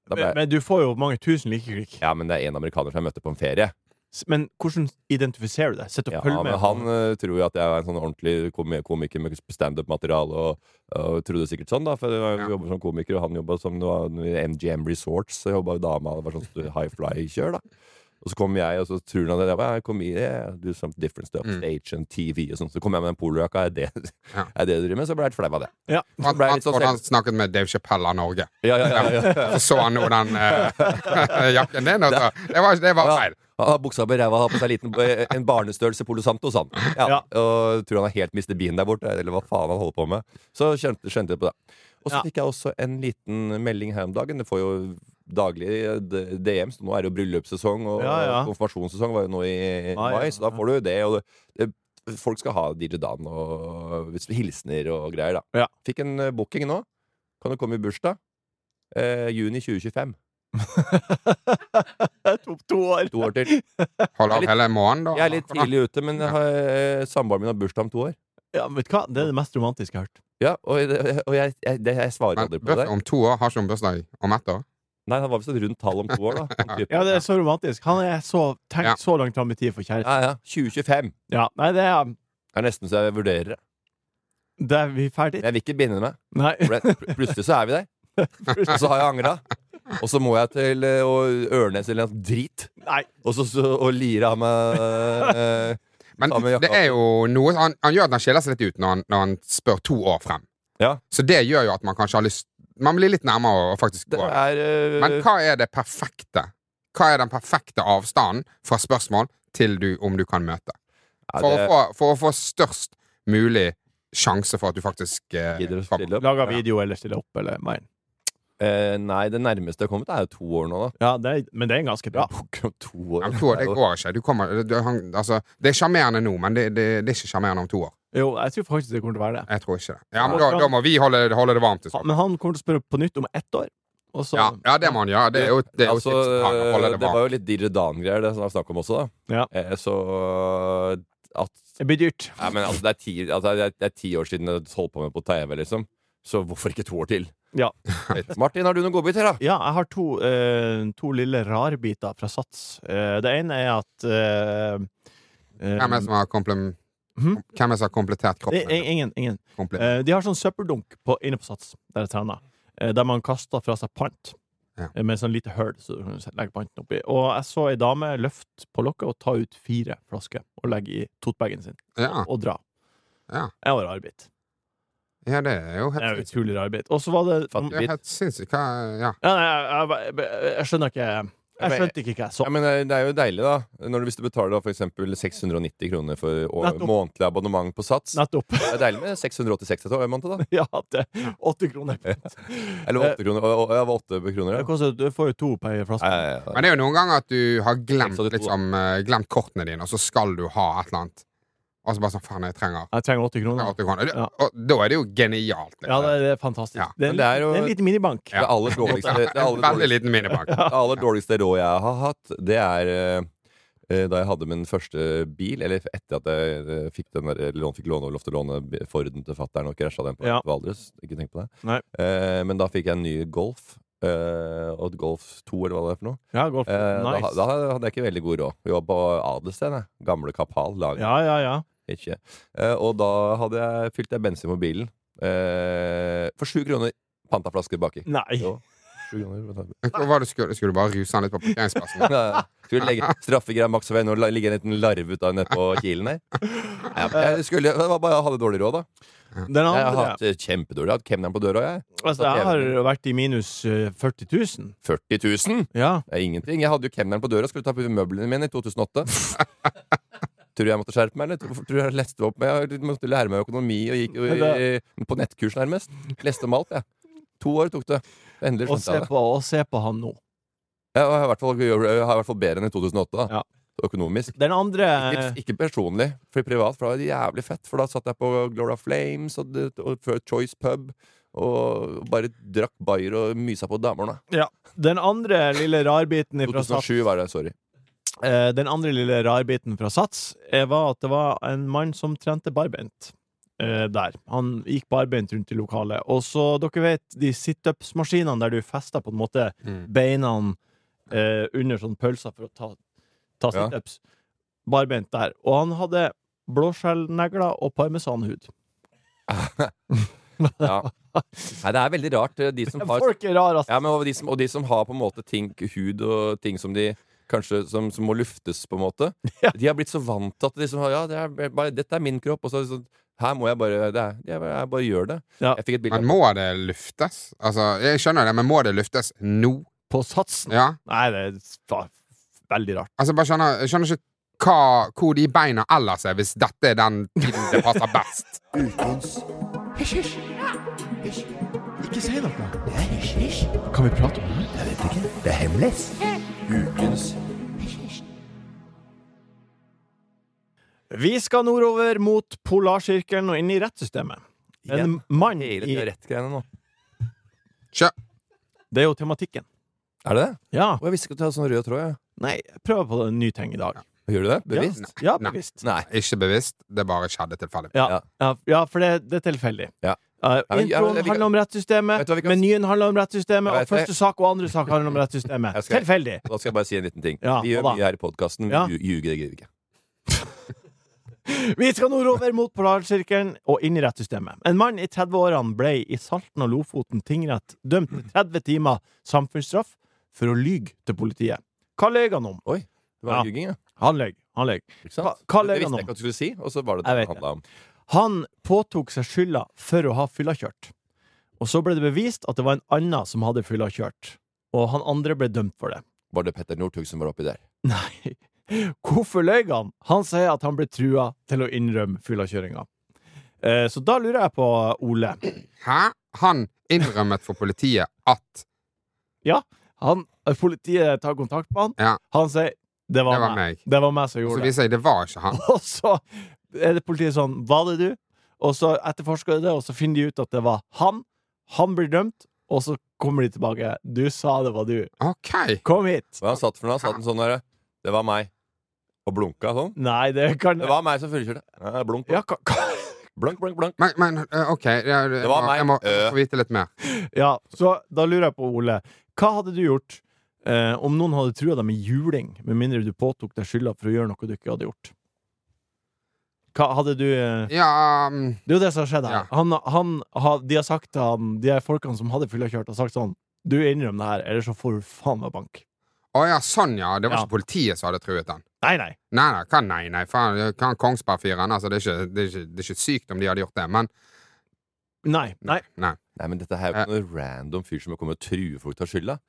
S2: Da ble,
S1: Men, men du får jo mange tusen likeklikk.
S2: ja, men det er én amerikaner som jeg møtte på en ferie.
S1: S- Men hvordan identifiserer du deg? Sitt og
S2: Ja,
S1: følg med.
S2: men han eh, tror jo at jeg er en sånn ordentlig komi- komiker med standup-materiale, og, og trodde sikkert sånn, da. For jeg
S3: Ja.
S2: jobber som komiker, og han jobba som noe- noe i MGM Resorts. Så jobba dama, det var sånn high fly-kjør, da. Og så kom jeg, og så tror han at jeg bare, kom i det, do some different stuff,
S3: Mm.
S2: stage and TV og sånn. Så kom jeg med den polojakka, er det
S3: Ja.
S2: er det du driver med? Så ble jeg litt flau av det.
S1: Ja.
S3: Han,
S2: ble jeg
S3: han,
S2: litt sånn
S3: trodde han snakket med Dave Chappelle av Norge.
S2: Ja, ja, ja, ja.
S3: Så så han nå den eh, jakken din, og så Det var, det var
S2: Ja.
S3: feil.
S2: Han har buksa på ræva, har på seg liten, eh, en barnestørrelse Polo Santos, han. Ja, Og tror han har helt mistet bien der borte, eller hva faen han holder på med. Så skjønte, skjønte jeg på det. Og så
S1: Ja.
S2: fikk jeg også en liten melding her om dagen. Det får jo daglig eh, d- DM, så nå er det jo bryllupssesong, og
S1: Ja, ja.
S2: konfirmasjonssesong var jo nå i
S1: Ah, ja,
S2: mai, så da får du jo det. Og det, det folk skal ha DJ Dan og hilsener og greier, da.
S1: Ja.
S2: Fikk en eh, booking nå. Kan du komme i bursdag? Eh, juni 2025.
S1: Det tok to år.
S2: To år til.
S3: Hold
S2: Jeg er litt-
S3: opp hele måneden, da.
S2: Jeg er litt tidlig ute, men jeg har, eh, samboeren min har bursdag om to år.
S1: Ja, men vet du hva? Det er det mest romantiske jeg har hørt.
S2: Ja, Og, jeg- og jeg, jeg, det, jeg svarer
S3: Men
S2: aldri på
S3: bursdag
S2: det.
S3: om to år har ikke hun bursdag om ett år?
S2: Nei, han var visst et rundt tall om to år, da. Sånn Han typen.
S1: Ja, det er så romantisk. Han er så tenkt
S3: Ja.
S1: så langt fram i tid for kjæresten.
S2: Ja, ja. 2025
S1: Ja, nei, det er
S2: er nesten så jeg vurderer det.
S1: Det er vi ferdig.
S2: Jeg vil ikke binde meg.
S1: Nei.
S2: For det- pl- Plutselig så er vi der. Og så har jeg angra. Og så må jeg til eh, å- Ørnes eller noe drit.
S1: Nei.
S2: Og så, så og lire av meg eh,
S3: Men
S2: Ta med jakka.
S3: det er jo noe han, han gjør at han skiller seg litt ut når han, når han spør to år frem.
S2: Ja.
S3: Så det gjør jo at man kanskje har lyst Man blir litt nærmere å faktisk
S2: Det
S3: gå.
S2: er eh,
S3: Men hva er det perfekte? Hva er den perfekte avstanden fra spørsmål til du, om du kan møte?
S2: ja,
S3: For,
S2: det-
S3: å, få, for å få størst mulig sjanse for at du faktisk eh,
S2: Gidder å
S3: kommer.
S2: stille opp?
S1: Laga video eller stille opp, eller mer.
S2: Eh, nei, det nærmeste jeg har kommet, er jo to år nå, da.
S1: Ja, det er, men det er ganske bra.
S2: Pokker om to år.
S3: Ja, men to år, det
S2: Det er jo-
S3: går ikke. Du kommer, du, han, altså, det er sjarmerende nå, men det, det, det er ikke sjarmerende om to år.
S1: Jo, jeg tror faktisk det kommer til å være det.
S3: Jeg tror ikke det. Ja, men da, da må vi holde, holde det varmt. i så fall.
S1: Han- Men han kommer til å spørre på nytt om ett år. Og så
S3: Ja, ja, det må han gjøre. Det er jo, det er jo
S2: altså,
S3: tipset til han, å holde det
S2: det var
S3: varmt.
S2: jo litt Dirre Dan-greier det som var snakk om også, da.
S1: Ja.
S2: Eh, så at
S1: Det blir dyrt.
S2: Nei, men altså, det er ti, altså, det er, det er ti år siden jeg holdt på med på TV, liksom. Så hvorfor ikke to år til?
S1: Ja.
S2: Litt. Martin, har du noen godbiter, da?
S1: Ja, jeg har to, eh, to lille rarbiter fra Sats. Eh, det ene er at eh, eh,
S3: Hvem er det som har, komplem-
S1: Mhm.
S3: Hvem er det som har komplettert
S1: det
S3: kroppen?
S1: er Ingen. ingen.
S3: Komplett.
S1: Eh, de har sånn søppeldunk på, inne på Sats, der jeg trener, eh, der man kaster fra seg pant.
S3: Ja.
S1: Eh, Med sånn lite høl, så du kan legge panten oppi. Og jeg så ei dame løfte på lokket og ta ut fire flasker og legge i totebagen sin,
S3: Ja,
S1: og dra.
S3: Ah.
S1: Det
S3: Ja.
S1: var rarbit.
S3: ja, det er jo
S1: Det er
S3: helt
S1: jo
S3: sinnssykt.
S1: utrolig rarbit. Og så var det
S2: Fatt-
S3: Det er helt sinnssykt. Hva- Ja.
S1: ja, nei, jeg, jeg, jeg skjønner ikke Jeg skjønte ikke hva jeg så.
S2: Ja, men eh, Det er jo deilig, da. Når du, hvis du betaler da, for eksempel 690 kroner for å-
S1: Nettopp.
S2: månedlig abonnement på Sats
S1: Nettopp.
S2: Det er deilig med 686 etter hver måned, da.
S1: Ja, det åtte kroner.
S2: Eller 8 kroner. Og, og, ja, det var åtte kroner,
S1: Det
S2: ja.
S1: koster, du får jo to per flaske.
S2: Nei, nei, nei.
S3: Men det er jo noen ganger at du har glemt,
S2: Så det er to-
S3: liksom, eh, glemt kortene dine, og så skal du ha et eller annet. Og så bare sånn Faen, jeg trenger
S1: Jeg trenger 80
S3: trenger
S1: kroner.
S3: 80 kroner.
S1: Ja.
S3: Og da er det jo genialt. Liksom.
S1: Ja, det, det er fantastisk.
S3: Ja,
S1: Det, er,
S2: men det er
S1: jo...
S2: jo-
S1: det er en liten minibank.
S2: Det aller dårligste, det aller
S3: Veldig
S2: dårligste,
S3: liten minibank.
S2: det aller dårligste råd jeg har hatt, det er eh, eh, da jeg hadde min første bil, eller etter at jeg eh, fikk den der, eller lån- fikk låne, lov til å låne b- Forden til fatter'n og krasja den på
S1: Ja.
S2: Valdres. Ikke tenk på det.
S1: Nei.
S2: Eh, men da fikk jeg en ny Golf. eh, og et Golf 2, eller hva det er for noe.
S1: Ja, golf.
S2: Eh,
S1: nice.
S2: da, da hadde jeg ikke veldig god råd. Vi var på Adelsten, jeg. Gamle Kapal. Lager.
S1: Ja, ja, ja.
S2: Ikke. Eh, og da hadde jeg, fylte jeg bensin på bilen. Eh, for sju kroner panta flaske baki.
S1: Nei.
S2: Jo. Sju kroner.
S3: Hva var det du skulle, skulle du bare ruse han litt på parkeringsplassen?
S2: Ja, ja. Skulle legge straffegreia Max og Venn og la- ligge en liten larve ut av nedpå kilen der. Nei, men Jeg skulle, jeg var bare, jeg hadde dårlig råd, da.
S1: Den
S2: Jeg har
S1: andre
S2: hatt eh, kjempedårlig. Jeg har hatt kemneren på døra, jeg.
S1: Altså, jeg har vært i minus eh, 40 000.
S2: 40 000!
S1: Ja.
S2: Det er ingenting. Jeg hadde jo kemneren på døra, skulle ta på møblene mine i 2008. Tror du jeg måtte skjerpe meg, eller? Tror tror du jeg leste opp meg? Jeg måtte lære meg økonomi og gikk og,
S1: Men
S2: på nettkurs, nærmest. Leste om alt, jeg. To år tok det. Endelig
S1: Og
S2: skjønte
S1: se
S2: jeg det.
S1: på, og se på han nå.
S2: Jeg har i hvert fall, jeg har i hvert fall bedre enn i 2008, da.
S1: Ja.
S2: Økonomisk.
S1: Den andre
S2: Ikke, ikke personlig, for privat, for det var jævlig fett. For da satt jeg på Gloria Flames og, det- og før Choice Pub og bare drakk bayer og mysa på damerne.
S1: ja. Den andre lille rarbiten fra Sats
S2: 2007 var det, sorry.
S1: eh, Den andre lille rarbiten fra Sats eh, var at det var en mann som trente barbeint eh, der. Han gikk barbeint rundt i lokalet. Og så, dere vet, de situpsmaskinene der du fester på en måte
S3: Mm.
S1: beina eh, under sånn pølser for å ta, ta
S2: Ja.
S1: situps. Barbeint der. Og han hadde blåskjellnegler og parmesanhud.
S2: Ja. Nei, det er veldig rart, eh, de som har
S1: Folk er rare, altså.
S2: Ja, men og de, som, og de som har på en måte ting, hud og ting som de kanskje som, som må luftes, på en måte.
S1: Ja.
S2: De har blitt så vant til at de liksom, ja, det er bare, dette er min kropp. Og så, er det sånn, her må jeg bare det er, jeg, bare- jeg bare gjør det.
S1: Ja.
S2: Jeg fikk et bilde av
S3: Men må det luftes? Altså, jeg skjønner det, men må det luftes nå?
S1: På satsen.
S3: Ja.
S1: Nei, det er fa- veldig rart.
S3: Altså, jeg bare skjønner, jeg skjønner ikke hva, hvor de beina ellers er, hvis dette er den tiden det passer best.
S1: Vi skal nordover mot polarsirkelen og inn i rettssystemet. En
S2: Igjen.
S1: mann i
S2: hele tiden rettgreiene nå.
S3: Kjør.
S1: Det er jo tematikken.
S2: Er det det?
S1: Ja.
S2: Og jeg visste ikke at du hadde sånn rød tråd. Jeg.
S1: Nei, prøv på en ny ting i dag.
S2: Gjør du det? Bevisst?
S1: Ja,
S3: Nei.
S1: bevisst.
S2: Nei.
S3: Ikke bevisst, det bare skjedde tilfeldig.
S1: Ja, ja, ja for det, det er tilfeldig.
S2: Ja.
S1: Eh,
S2: men- ja, men
S1: introen
S2: vi kan-
S1: handler om
S2: Vet
S1: rettssystemet,
S2: du hva vi kan-
S1: menyen handler om rettssystemet,
S2: Jeg
S1: og
S2: vet det.
S1: første sak og andre sak handler om rettssystemet.
S2: Jeg skal-
S1: Tilfeldig!
S2: Da skal jeg bare si en liten ting.
S1: Ja,
S2: vi gjør
S1: hva da?
S2: mye her i podkasten.
S1: Ja.
S2: Ljuge, det gidder vi ikke.
S1: Vi skal nordover mot polarsirkelen og inn i rettssystemet. En mann i 30-årene ble i Salten og Lofoten tingrett dømt til 30 timer samfunnsstraff for å lyge til politiet. Hva løy han om?
S2: Oi, det var
S1: Ja.
S2: en jugging, ja.
S1: Han løy. Han løy.
S2: Ikke sant?
S1: Hva- hva legger han
S2: det visste
S1: om?
S2: jeg ikke at du skulle si, og så var det
S1: Jeg
S2: det det
S1: vet
S2: handla om.
S1: Han påtok seg skylda for å ha fyllakjørt. Og så ble det bevist at det var en annen som hadde fyllakjørt. Og han andre ble dømt for det.
S2: Var det Petter Northug som var oppi der?
S1: Nei. Hvorfor løy han? Han sier at han ble trua til å innrømme fyllakjøringa. Eh, Så da lurer jeg på, Ole
S3: Hæ? Han innrømmet for politiet at
S1: han, eh, Politiet tar kontakt med han.
S3: Ja.
S1: Han sier det var,
S3: Det var meg.
S1: Det var meg som
S3: Så
S1: gjorde det.
S3: viser jeg det var ikke han.
S1: Og så er det politiet sånn Var det du? Og så etterforsker de det, og så finner de ut at det var han. Han blir dømt, og så kommer de tilbake. Du sa det var du.
S3: OK.
S1: Kom hit!
S2: Hva han satt for noe? Han satt en sånn derre Det var meg. Og blunka sånn.
S1: Nei, det kan
S2: Det var meg som fullkjørte. Ja, Blunk,
S1: ja, ka, ka.
S2: blunk, blunk. blunk.
S3: Men, men eh, OK, jeg, jeg,
S2: Det var
S3: må-
S2: meg.
S3: jeg må
S2: Øh.
S3: få vite litt mer.
S1: ja, så da lurer jeg på, Ole. Hva hadde du gjort eh, om noen hadde trua deg med juling, med mindre du påtok deg skylda for å gjøre noe du ikke hadde gjort? Hva hadde du eh,
S3: Ja mm,
S1: Det er jo det som har skjedd her.
S3: Ja.
S1: Han, han, har- de har sagt til han De her folkene som hadde fyllekjørt, har sagt sånn Du innrømmer det her, ellers så får du faen meg bank.
S3: Å ja, sånn ja. Det var
S1: Ja.
S3: ikke politiet som hadde truet han.
S1: Nei, nei.
S3: Nei, nei, hva nei, nei, faen, hva han Kongsberg-fyren? Altså, det er, ikke, det, er ikke, det er ikke sykt om de hadde gjort det, men
S1: Nei. nei.
S3: nei.
S2: Nei, men dette her er jo ikke noen random fyr som vil komme og true folk til skylda.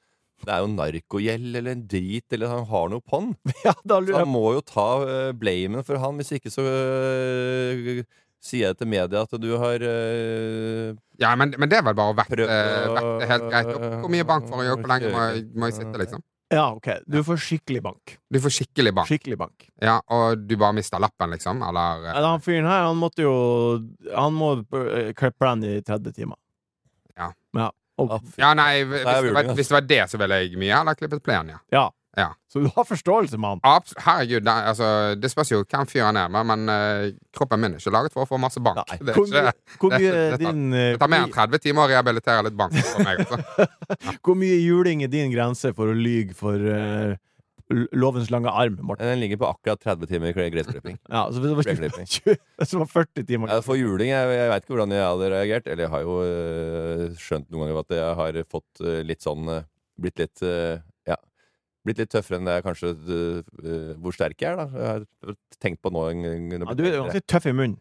S2: Det er jo narkogjeld eller en drit, eller han har noe på'n.
S1: Ja, da
S2: Så
S1: lurer
S2: han
S1: jeg
S2: må jo ta eh, blamen for han. Hvis ikke så eh, sier jeg til media at du har eh,
S3: Ja, men, men det er vel bare å vekte,
S2: Prøv å-
S3: vekte helt greit opp. Hvor mye bank får jeg gjøre? Hvor lenge må jeg, må jeg sitte, liksom?
S1: Ja, OK. Du får skikkelig bank.
S3: Du får skikkelig bank.
S1: Skikkelig bank.
S3: Ja, og du bare mister lappen, liksom? Eller eh,
S1: Eller han fyren her, han måtte jo Han må eh, klippe den i 30 timer.
S3: Ja.
S1: Og,
S2: ah, fy-
S3: Ja, nei,
S2: Nei,
S3: hvis
S2: jeg
S3: det,
S2: burde
S3: var,
S2: det.
S3: hvis det var det, så ville jeg mye heller klippet plenen, ja.
S1: ja.
S3: Ja.
S1: Så du har forståelse, mann.
S3: Abs Herregud, det, altså, det spørs jo hvem fyren er, men, men eh, kroppen min er ikke laget for å få masse bank.
S1: Nei.
S3: det, er
S1: Hvor mye,
S3: ikke,
S1: hvor
S3: det-
S1: mye
S3: det tar-
S1: din
S3: det tar mer
S1: eh,
S3: enn 30 timer å rehabilitere litt bank for meg. Altså.
S1: Hvor mye juling er din grense for å lyge for eh, l- lovens lange arm, Morten?
S2: Den ligger på akkurat 30 timer i gressklipping.
S1: Ja, så hvis det var,
S2: Preklipping.
S1: 20, hvis det var 40 timer
S2: Jeg får juling. Jeg, jeg veit ikke hvordan jeg hadde reagert. Eller jeg har jo eh, skjønt noen ganger at jeg har fått eh, litt sånn eh, Blitt litt eh, Ja. Blitt litt tøffere enn det jeg kanskje eh, Hvor sterk jeg er, da. Jeg har tenkt på nå en gang når
S1: ja,
S2: jeg ble
S1: Du er jo
S2: eldre.
S1: ganske tøff i munnen.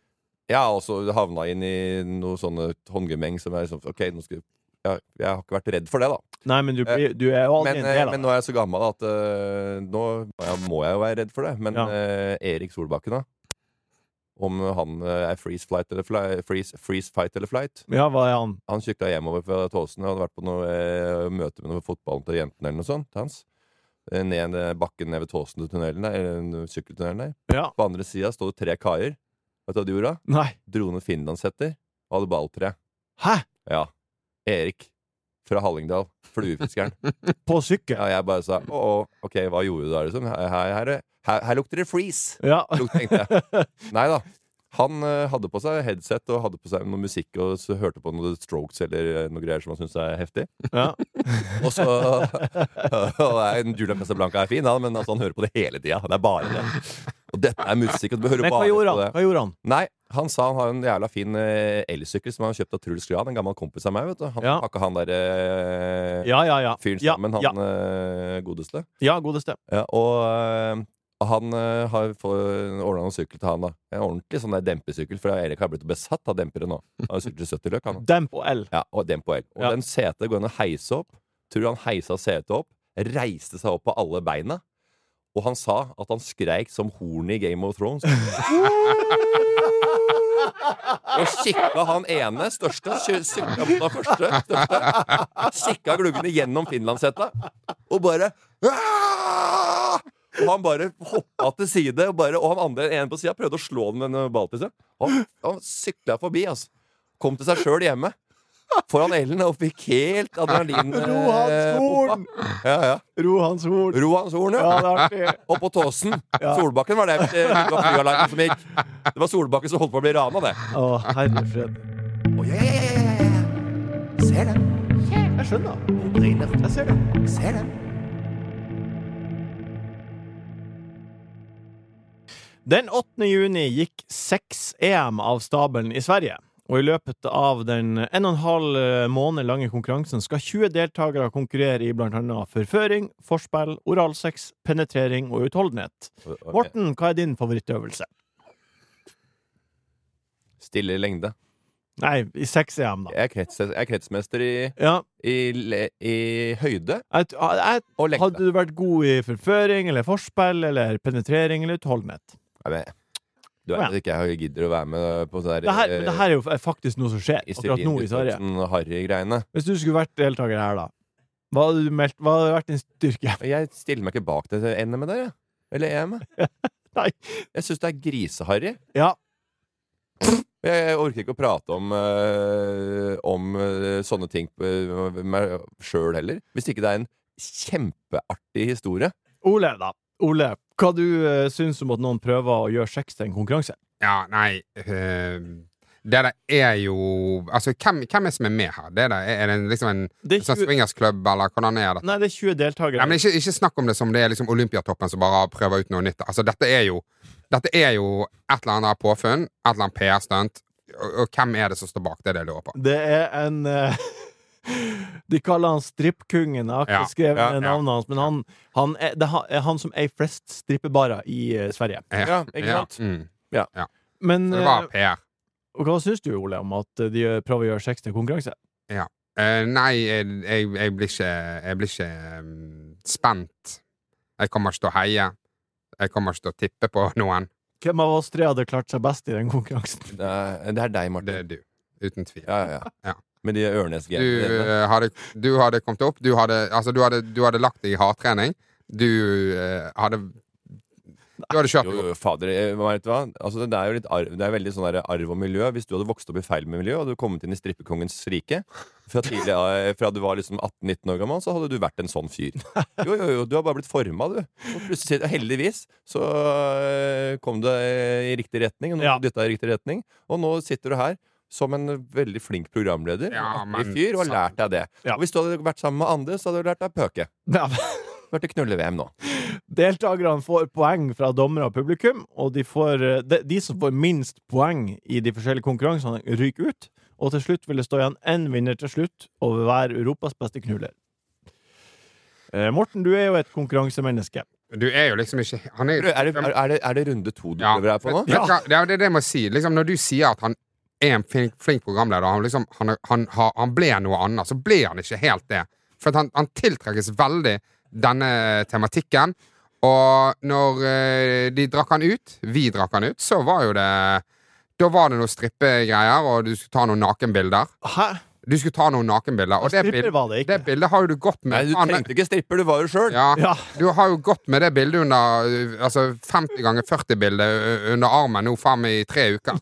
S2: Jeg har også havna inn i noe sånne håndgemeng som er sånn Ok, nå skal ja, Jeg har ikke vært redd for det, da.
S1: Nei, men du, blir- du er jo aldri
S2: Men,
S1: en
S2: eh,
S1: del
S2: men
S1: av
S2: nå
S1: det.
S2: er jeg så gammel at eh, nå må jeg- må jeg jo være redd for det. Men
S1: Ja.
S2: eh, Erik Solbakken, da. Om han eh, er freeze, flight eller fly, freeze, freeze fight eller flight.
S1: Ja, hva er han?
S2: Han kykla hjemover fra Tåsen og hadde vært på noe eh, møte med noe fotballen til jentene eller noe sånt. Hans. Eh, Ned eh, bakken ned ved Tåsen til tunnelen der, eller eh, sykkeltunnelen der.
S1: Ja.
S2: På andre sida sto det tre kaier. Vet du hva de gjorde? da?
S1: Nei.
S2: Dro ned finlandshetter og hadde balltre.
S1: Hæ?
S2: Ja. Erik fra Hallingdal. Fluefiskeren.
S1: På sykkel?
S2: Ja, jeg bare sa å, å, ok, hva gjorde du da, liksom? Her, her, her, her, her lukter det freeze!
S1: Ja.
S2: Luk- Tenkte jeg. Nei da. Han eh, hadde på seg headset og hadde på seg noe musikk og så hørte på noe Strokes eller eh, noe greier som han syntes er heftig.
S1: ja.
S2: Og så og nei, Julia Casablanca er fin, han, men altså, han hører på det hele tida. Det er bare det. Og dette er musikk, og du hører
S1: Men hva
S2: bare
S1: gjorde
S2: på
S1: han?
S2: det.
S1: Hva gjorde han?
S2: Nei, han sa han har en jævla fin eh, elsykkel som han har kjøpt av Truls Gran, en gammel kompis av meg. vet du Han
S1: Ja.
S2: pakka han der eh,
S1: Ja, ja, ja.
S2: fyren
S1: Ja,
S2: sammen,
S1: ja,
S2: han eh, godeste.
S1: ja, godeste.
S2: Ja, og eh, han eh, har ordna noen sykkel til han, da. En ordentlig sånn der dempesykkel, for Erik har blitt besatt av dempere nå. Han har sykler til 70 løk, han.
S1: Demp og L.
S2: Ja, og den på L. Og
S1: Ja.
S2: den setet går an å heise opp. Tror du han heisa setet opp, reiste seg opp på alle beina. Og han sa at han skreik som hornet i Game of Thrones. Og kikka han ene, største, kikka på den første, største, kikka gluggene gjennom finlandshetta, og bare «Aah!» Og han bare hoppa til side, og, bare, og han andre en på sida prøvde å slå den med en balltisse. Han, han sykla forbi, altså. Kom til seg sjøl hjemme foran Ellen og fikk helt adrenalin eh,
S1: Ro hans horn!
S2: bomba. Ja, ja.
S1: Ro hans horn!
S2: Ro hans horn,
S1: Ja,
S2: ja.
S1: det er artig.
S2: Og på Tåsen. Solbakken var det. eh, Det var flyalarmen som gikk. Det var Solbakken som holdt på å bli rana, det.
S1: Å, herre fred.
S2: Å,
S1: Oh,
S2: ja, ja, ja, ja, ja, ja. Ser den.
S1: Jeg skjønner. Jeg ser det.
S2: Ser den.
S1: Den 8. juni gikk seks EM av stabelen i Sverige. Og i løpet av den en og en halv eh, måned lange konkurransen skal 20 deltakere konkurrere i blant annet forføring, forspill, oralsex, penetrering og utholdenhet.
S2: Ok.
S1: Morten, hva er din favorittøvelse?
S2: Stille lengde.
S1: Nei, i seks-EM, da.
S2: Jeg er, krets, jeg er kretsmester i,
S1: Ja,
S2: i, le- i høyde
S1: jeg, ah, jeg,
S2: og lengde.
S1: hadde du vært god i forføring eller forspill eller penetrering eller utholdenhet?
S2: Nei, men, du
S1: Å, ja.
S2: vet at ikke jeg gidder å være med på sånn der
S1: Det her, men
S2: eh,
S1: det her er jo faktisk noe som skjer akkurat nå i Sverige.
S2: Iselin Harry-greiene.
S1: Hvis du skulle vært deltaker her, da, hva hadde, du meldt, hva hadde vært din styrke?
S2: Jeg stiller meg ikke bak det NM-et der, jeg. Eller EM-et.
S1: Nei.
S2: Jeg syns det er griseharry.
S1: Ja,
S2: Jeg, jeg orker ikke å prate om, eh, om eh, sånne ting eh, med meg sjøl heller. Hvis ikke det er en kjempeartig historie.
S1: Ole, da. Ole, hva du eh, syns om at noen prøver å gjøre sex til en konkurranse?
S3: Ja, nei eh, Det der er jo Altså, hvem, hvem er det som er med her? Det der, er det liksom en
S1: Det er
S3: sånn
S1: 20,
S3: swingersklubb, eller hvordan er det?
S1: nei, det er 20 deltakere.
S3: Nei, men ikke, ikke snakk om det som det er liksom Olympiatoppen som bare prøver ut noe nytt. Altså, dette er jo Dette er jo et eller annet påfunn, et eller annet PR-stunt. Og, og hvem er det som står bak det, er det jeg lurer på?
S1: Det er en eh, De kaller han strippkungen. Jeg har ikke
S3: Ja,
S1: skrevet
S2: ja,
S1: ned
S3: ja.
S1: navnet hans, men han, han er, det er han- er han som eier flest strippebarer i eh, Sverige.
S2: Ja, ikke sant?
S3: Mm.
S1: Men
S3: Så det
S1: eh,
S3: var PR.
S1: og hva syns du, Ole, om at de eh, prøver å gjøre sex til en konkurranse?
S3: Eh, nei, jeg, jeg, jeg blir ikke, jeg blir ikke mm, spent. Jeg kommer ikke til å heie. Jeg kommer ikke til å tippe på noen.
S1: Hvem av oss tre hadde klart seg best i den konkurransen?
S2: Det er, det er deg,
S3: Det
S2: Martin.
S3: er du. Uten tvil.
S2: Ja, ja, ja.
S3: Ja.
S2: Med de
S3: Du,
S2: Ørnes-greiene. dine.
S3: eh, hadde, du hadde kommet opp. Du hadde, altså, du hadde, du hadde lagt deg i hardtrening. Du eh, hadde Du hadde kjørt
S2: Jo, jo, fader, jeg- vet du hva? Altså, det er jo litt arv, det er veldig sånn der arv og miljø. Hvis du hadde vokst opp i feil miljø, og du hadde kommet inn i strippekongens rike fra, tidlig, av- fra du var liksom 18-19 år gammel, så hadde du vært en sånn fyr. Jo, jo, jo, du har bare blitt forma, du. Og plutselig, heldigvis, så øh, kom du øh, i riktig retning, og nå
S1: Ja.
S2: dytta i riktig retning, og nå sitter du her. Som en veldig flink programleder.
S3: Ja,
S2: en artig
S3: men-
S2: fyr, og har lært deg det.
S1: Ja.
S2: Og hvis du hadde vært sammen med andre, så hadde du lært deg pøke.
S1: Ja,
S2: Vært i knulle-VM nå.
S1: Deltakerne får poeng fra dommere og publikum, og de, får, eh, de, de som får minst poeng i de forskjellige konkurransene, ryker ut. Og til slutt vil det stå igjen én vinner til slutt over hver Europas beste knuller. Eh, Morten, du er jo et konkurransemenneske.
S3: Du er jo liksom ikke Han er
S2: Er det, er, det, er, det, er det runde to du
S3: Ja.
S2: prøver her på nå?
S3: Vet- vet du hva? Det er det jeg må si. Liksom, når du sier at han er en flink, flink programleder, han, liksom, han, er- han, har- han ble noe annet, så ble han ikke helt det. For at han, han tiltrekkes veldig denne tematikken. Og når eh, de drakk han ut, vi drakk han ut, så var jo det Da var det noen strippegreier, og du skulle ta noen nakenbilder.
S1: Hæ?
S3: Du skulle ta noen nakenbilder, og det,
S1: Stripper
S3: bild,
S1: var det ikke.
S3: det bildet har jo du gått
S2: Nei,
S3: med.
S2: du
S3: Faen, det-
S2: trengte ikke stripper, du var jo sjøl.
S3: ja.
S1: Ja.
S3: Du har jo gått med det bildet under uh, Altså 50 ganger 40-bildet under armen nå faen meg i tre uker.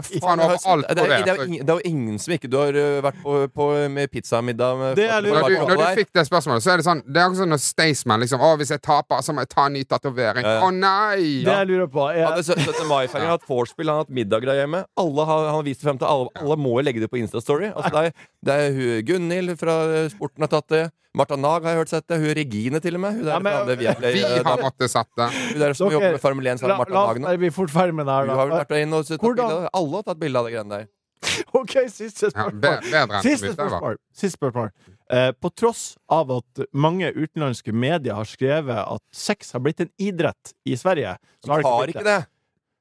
S3: Faen overalt
S2: det,
S3: på
S2: er, det,
S3: det.
S2: er jo ingen, det er jo ingen som ikke Du har ø, vært på, på med pizzamiddag med
S1: Det er lurt.
S3: Når du, når du
S2: Her.
S3: fikk det spørsmålet, så er det sånn Det er akkurat sånn når Staysman liksom Å, hvis jeg taper, så må jeg ta en ny tatovering. Å
S2: Ja, ja.
S3: nei!
S1: Det jeg lurer på,
S2: Han
S1: er
S2: hadde 17. mai-feiring, han har hatt vorspiel, han har hatt middager der hjemme. Alle har, han har vist det frem til alle, alle må jo legge det på Insta-story. Altså, det er, det er hun Gunhild fra ø, Sporten har tatt det. Martha Nag har jeg hørt sett det. Hun Regine til og med. Hun der,
S1: Ja, men-
S2: fra andre Viaplay,
S3: Vi
S2: ø,
S3: har
S2: dame.
S3: måttet sette
S2: hun der som
S1: Dere-
S2: jobber med Formel
S1: La,
S2: 1 sammen
S1: la
S2: med sånn Martha Nag nå.
S1: oss bli fort ferdig med det her,
S2: Hun har vel
S1: da.
S2: vært der inne og tatt
S1: Hvordan-
S2: bilder. Alle har tatt bilde av de greiene der.
S1: OK, siste
S3: ja, be-
S1: spørsmål.
S3: Bedre enn
S1: Siste
S3: utøver.
S1: spørsmål. Siste spørsmål. Eh, på tross av at mange utenlandske medier har skrevet at sex har blitt en idrett i Sverige, så har det
S2: Har
S1: ikke blitt
S2: ikke
S1: det.
S2: det.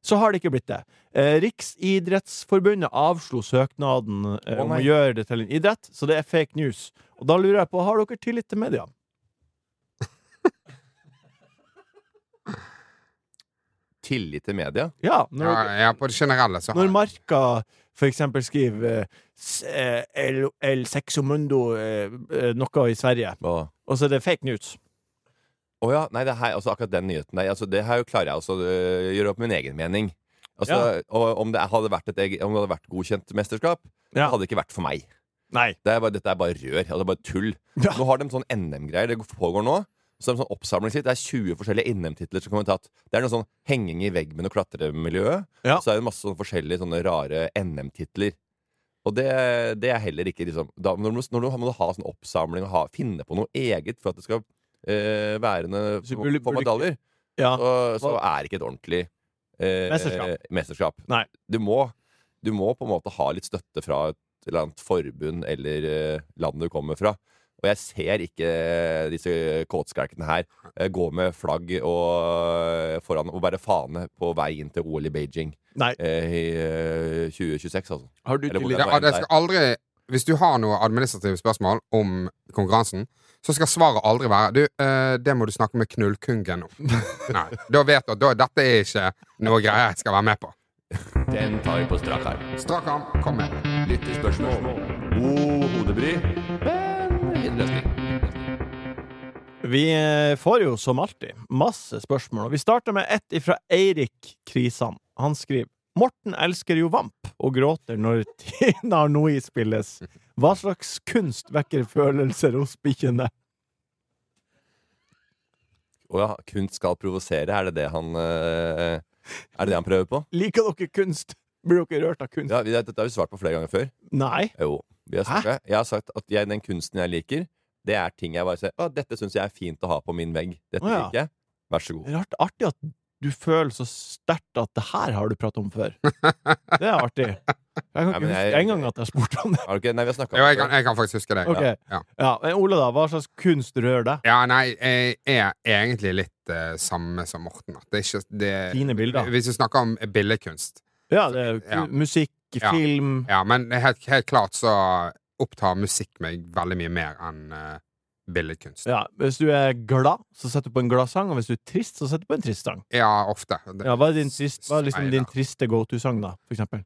S1: Så har det, ikke blitt det. Eh, Riksidrettsforbundet avslo søknaden eh,
S2: Å,
S1: om å
S2: nei.
S1: gjøre det til en idrett, så det er fake news. Og da lurer jeg på, har dere tillit til media?
S2: Tillit til media.
S1: Ja,
S3: Ja,
S1: når,
S3: ja, på det generelle så har
S1: når Marka for eksempel skriver eh, s- eh, El, el sexomundo eh, eh, noe i Sverige,
S2: Hva?
S1: og så er det fake news.
S2: Å ja, nei, det her, altså akkurat den nyheten der, altså, det her klarer jeg også å gjøre opp min egen mening. Altså, og Om det hadde vært et eg- om det hadde vært godkjent mesterskap,
S1: Ja.
S2: det hadde ikke vært for meg.
S1: Nei.
S2: Det er bare, dette er bare rør. Altså, bare tull.
S1: Ja.
S2: Nå har de sånn NM-greier. Det pågår nå. Så er det, sånn oppsamlingslitt. det er 20 forskjellige NM-titler som kommer tatt. Det er noe sånn henging i vegg med noe klatremiljø.
S1: Ja.
S2: Så er det masse sånne forskjellige sånne rare NM-titler. Og det, det er heller ikke liksom da, når, du, når du må du ha sånn oppsamling og ha, finne på noe eget for at det skal eh, være noe
S1: Så burde-
S2: for medaljer,
S1: Ja.
S2: så, så er det ikke et ordentlig eh,
S1: Mesterskap.
S2: eh, mesterskap.
S1: Nei.
S2: Du må, du må på en måte ha litt støtte fra et eller annet forbund eller eh, land du kommer fra. Og jeg ser ikke disse kåtskalkene her eh, gå med flagg og, eh, foran og bære fane på vei inn til OL i Beijing
S1: Nei.
S2: eh, i eh, 2026, altså.
S1: Har du
S2: Eller
S1: tillit-
S2: hvordan
S3: Det, det skal aldri Hvis du har noe administrative spørsmål om konkurransen, så skal svaret aldri være Du, eh, det må du snakke med Knullkungen om. Nei, da vet du at da- dette er ikke noe greier jeg skal være med på.
S2: Den tar vi på strak arm.
S3: Strak arm, kom med.
S2: Lyttespørsmål. God hodebry, men fin løsning.
S1: Vi eh, får jo som alltid masse spørsmål, og vi starter med ett fra Eirik Krisan. Han skriver Morten elsker jo Vamp og gråter når Tina Arnoi spilles. Hva slags kunst vekker følelser hos bikkjene?
S2: Å ja, kunst skal provosere. Er det det han eh, Er det det han prøver på?
S1: Liker dere kunst? Blir dere rørt av kunst?
S2: Ja, vi, Dette har vi svart på flere ganger før.
S1: Nei.
S2: Jo. Vi har snakket. Jeg har sagt at jeg, den kunsten jeg liker, det er ting jeg bare ser Å, dette syns jeg er fint å ha på min vegg. Dette
S1: Å ja.
S2: liker jeg. Vær så god.
S1: Rart, artig at du føler så sterkt at det her har du pratet om før. Det er artig. Jeg kan
S2: Nei,
S1: ikke
S2: men jeg-
S1: huske engang at jeg spurte om det.
S2: Har du ikke Nei, vi har snakka
S3: Jo, jeg kan, jeg kan faktisk huske det.
S1: Ok.
S3: Ja.
S1: Ja, men Ole, da. Hva slags kunst rører deg?
S3: Ja, nei, jeg er egentlig litt eh, samme som Morten. At det er ikke, det,
S2: Eh,
S1: Fine bilder.
S3: hvis du snakker om billedkunst
S1: Ja, det er
S3: Ja.
S1: ku- musikk,
S3: Ja.
S1: film
S3: Ja, men helt, helt klart så opptar musikk meg veldig mye mer enn eh, billedkunst. Ja.
S1: ja, Hvis du er glad, så setter du på en glad sang, og hvis du er trist, så setter du på en trist sang.
S3: ofte. Det-
S1: Ja, hva er, din trist, hva er liksom
S3: Nei,
S1: din
S3: da.
S1: triste go to-sang, da, for eksempel?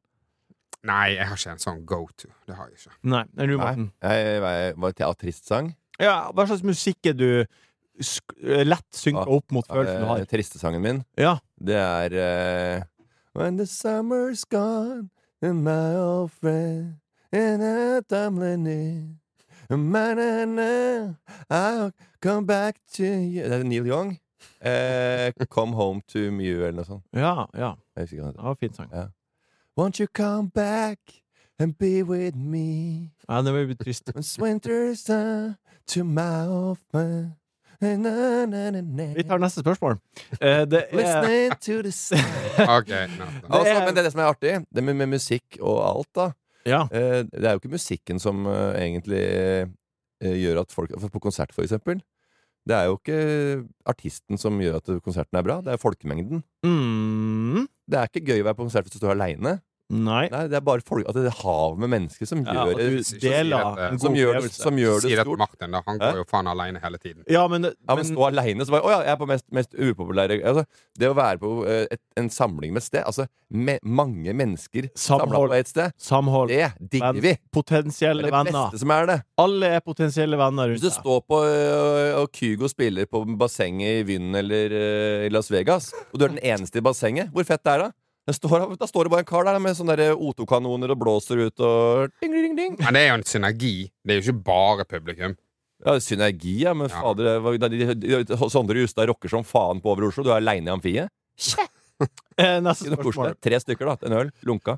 S3: Nei, jeg har ikke en sånn go-to. Det har jeg ikke.
S1: Nei, det er du, Morten.
S2: Var det en trist sang?
S1: Ja, hva slags musikk er du sk eh, lett synker opp mot følelsen du
S2: Eh,
S1: har?
S2: Tristesangen min,
S1: Ja.
S2: det er eh, When the summer's gone and my old friend and I'm learning ma na na I'll come back to you Det er Neil Young. Eh, come home to me eller noe sånt.
S1: ja, ja.
S2: Jeg husker ikke hva den heter.
S1: Det var en fin sang.
S2: Won't you come back and be with me?
S1: Ja, det blir trist.
S2: It's winter's time to my old friend na, na, na, na.
S1: Vi tar neste spørsmål. Eh, det er
S2: Listening to the sun
S3: Ok, nei,
S2: Altså,
S1: er-
S2: men det er det som er artig. Det med, med musikk og alt, da.
S1: Ja.
S2: Eh, det er jo ikke musikken som eh, egentlig eh, gjør at folk for På konsert, for eksempel. Det er jo ikke artisten som gjør at konserten er bra, det er folkemengden.
S1: Mm,
S2: Det er ikke gøy å være på konsert hvis du står aleine.
S1: nei.
S2: Nei, det er bare folk, at det er hav med mennesker som
S1: Ja, at
S2: gjør,
S1: du
S3: si
S1: deler
S3: dette.
S1: en
S2: eh, som
S1: god
S2: gjør, det,
S1: opplevelse.
S2: som gjør
S3: Si
S2: det
S3: det til
S2: stort.
S3: Martin, da. Han går jo faen aleine hele tiden.
S1: Ja, men,
S2: Ja, men
S1: men
S2: stå aleine, så bare Å ja, jeg er på mest, mest upopulære altså, Det å være på eh, et, en samling med et sted, altså me, mange mennesker samla
S1: Samhold.
S2: på et sted,
S1: samhold,
S2: det digger vi!
S1: potensielle
S2: Det er det
S1: venner
S2: beste som er det.
S1: Alle er potensielle venner
S2: Hvis du
S1: rundt deg.
S2: står på øh, og Kygo spiller på bassenget i Vyn eller øh, i Las Vegas, og du er den eneste i bassenget, hvor fett det er da? Da står, da står det bare en kar der med sånne der O2-kanoner og blåser ut og ding, ding, ding.
S3: Men det er jo en synergi. Det er jo ikke bare publikum.
S2: Ja, det er Synergi, ja, men
S3: Ja.
S2: fader det var- da de- de- de- Sondre Justad rocker som faen på over Oslo. Du er aleine i amfiet.
S1: Eh, Neste
S2: Ikke noe
S1: spørsmål.
S2: koselig. Tre stykker, da. En øl. Lunka.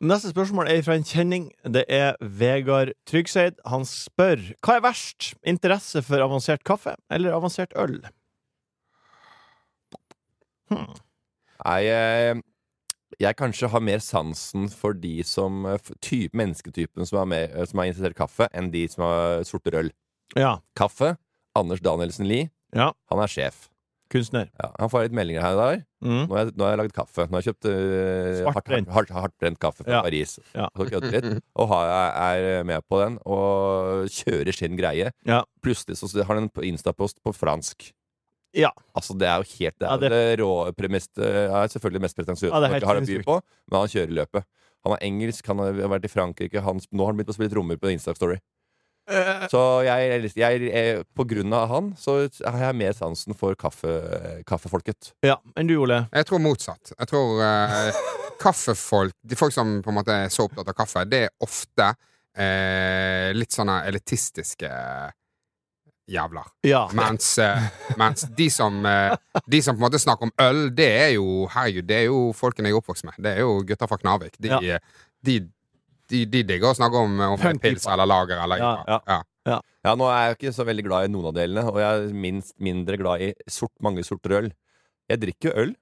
S1: Neste spørsmål er fra en kjenning. Det er Vegard Trygseid. Han spør hva er verst? Interesse for avansert kaffe eller avansert øl? Hmm.
S2: Nei, jeg, jeg kanskje har mer sansen for de som øh, f- typ, Mennesketypen som er, mer- øh, som er interessert i kaffe, enn de som har sorter øl.
S1: Ja.
S2: Kaffe. Anders Danielsen Lie.
S1: Ja.
S2: Han er sjef.
S1: Kunstner.
S2: Ja, han får litt meldinger her og der.
S1: Mm.
S2: Nå har jeg, nå har jeg lagd kaffe. Nå har jeg kjøpt eh,
S1: Svart
S2: hardt,
S1: brent.
S2: hardt, hardt, hardbrent kaffe fra
S1: Ja.
S2: Paris.
S1: Ja.
S2: Så kødder jeg litt. Og har, jeg er med på den og kjører sin greie.
S1: Ja.
S2: Plutselig så har han en instapost på fransk.
S1: Ja.
S2: Altså, det er jo helt Det er
S1: Ja,
S2: jo
S1: det-
S2: det, rå premiss ja, jeg er selvfølgelig mest pretensiøse
S1: Ja, det er
S2: Norge
S1: helt
S2: har å by
S1: sinnssykt.
S2: på, men han kjører løpet. Han er engelsk, han har vært i Frankrike, han, nå har han begynt å spille trommer på Insta-story.
S1: Eh,
S2: Så jeg, jeg, jeg, på grunn av han, så har jeg mer sansen for kaffe, eh, kaffefolket.
S1: ja. Enn du, Ole?
S3: Jeg tror motsatt. Jeg tror eh, kaffefolk De folk som på en måte er så opptatt av kaffe, det er ofte eh, litt sånne elitistiske eh, jævler.
S1: Ja.
S3: Mens, eh, mens de, som, eh, de som på en måte snakker om øl, det er jo herregud, det er jo folkene jeg er oppvokst med. Det er jo gutter fra Knarvik. De, eh, de, de, de digger å snakke om, om
S1: Punk-pipa.
S3: pils eller lager eller
S1: Ja,
S3: IPA.
S1: ja.
S3: Ja.
S2: Ja, nå er jeg jo ikke så veldig glad i noen av delene, og jeg er minst mindre glad i sort, mange sorter øl. Jeg drikker jo øl,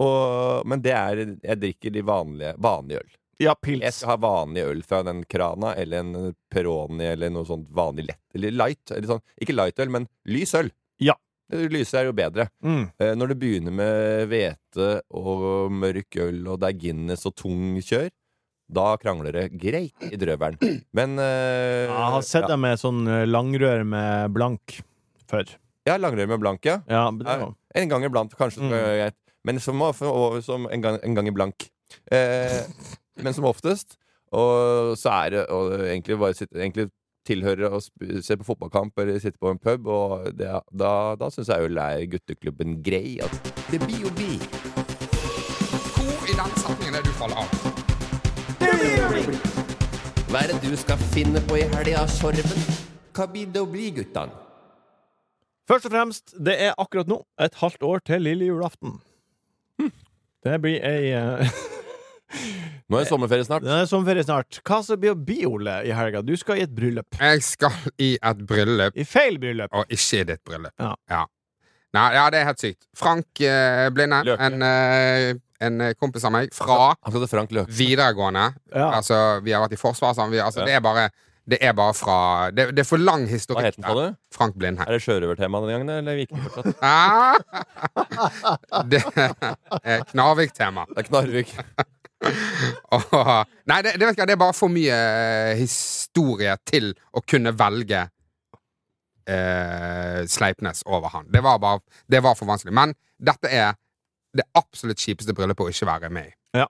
S2: Og, men det er Jeg drikker de vanlige, vanlige øl.
S1: Ja,
S2: Jeg
S1: pils.
S2: skal ha vanlig øl fra den krana, eller en Peroni, eller noe sånt vanlig lett. Eller light. Eller sånn. Ikke lightøl, men lys øl.
S1: Ja.
S2: Lyse er jo bedre.
S1: Mm.
S2: Eh, Når du begynner med hvete og mørk øl, og det er Guinness og tung kjør, da krangler det greit i drøvelen. Men eh,
S1: Jeg har sett
S2: ja.
S1: deg med sånn eh, langrør med blank før.
S2: Ja, langrør med blank, ja.
S1: Ja, men det var-
S2: En gang iblant, kanskje.
S1: Mm.
S2: Skal jeg, gjøre greit. men som, of- og- som en, gang, en gang iblank. Eh, men som oftest. Og så er det og egentlig bare sitte, egentlig tilhører å sp- se på fotballkamp eller sitte på en pub, og det, da, da syns jeg øl er gutteklubben grei. Altså. Det blir jo bi.
S3: Hvor i den setningen er det du faller av?
S2: Hva er det du skal finne på i helga, Sorven? Hva blir det å bli, guttan?
S1: Først og fremst, det er akkurat nå et halvt år til lille julaften.
S2: Hm.
S1: Det blir ei eh,
S2: Nå er det sommerferie snart.
S1: Det er sommerferie snart. Hva som blir å bli, Ole, i helga? Du skal i et bryllup.
S3: Jeg skal i et bryllup,
S1: I feil bryllup.
S3: og ikke i ditt bryllup.
S1: Ja.
S3: Nei, ja, det er helt sykt. Frank eh, Blinde,
S2: Løke.
S3: en, eh, en kompis av meg fra
S2: Han skal til Frank Løke.
S3: videregående
S1: Ja.
S3: Altså, vi har vært i forsvar sammen. Vi, altså, det, er bare, det er bare fra Det, det er for lang
S2: Hva
S3: historikk.
S2: het den, sa du?
S3: Frank Blindheim.
S2: Er det sjørøvertema denne gangen, eller viking fortsatt?
S3: Ah! det er Knarvik-tema.
S2: Det er Knarvik.
S3: Åh. Nei, det, det vet ikke, det er bare for mye eh, historie til å kunne velge eh, Sleipnes over han. Det var, bare, det var for vanskelig. Men dette er det absolutt kjipeste bryllupet å ikke være med i.
S1: Ja.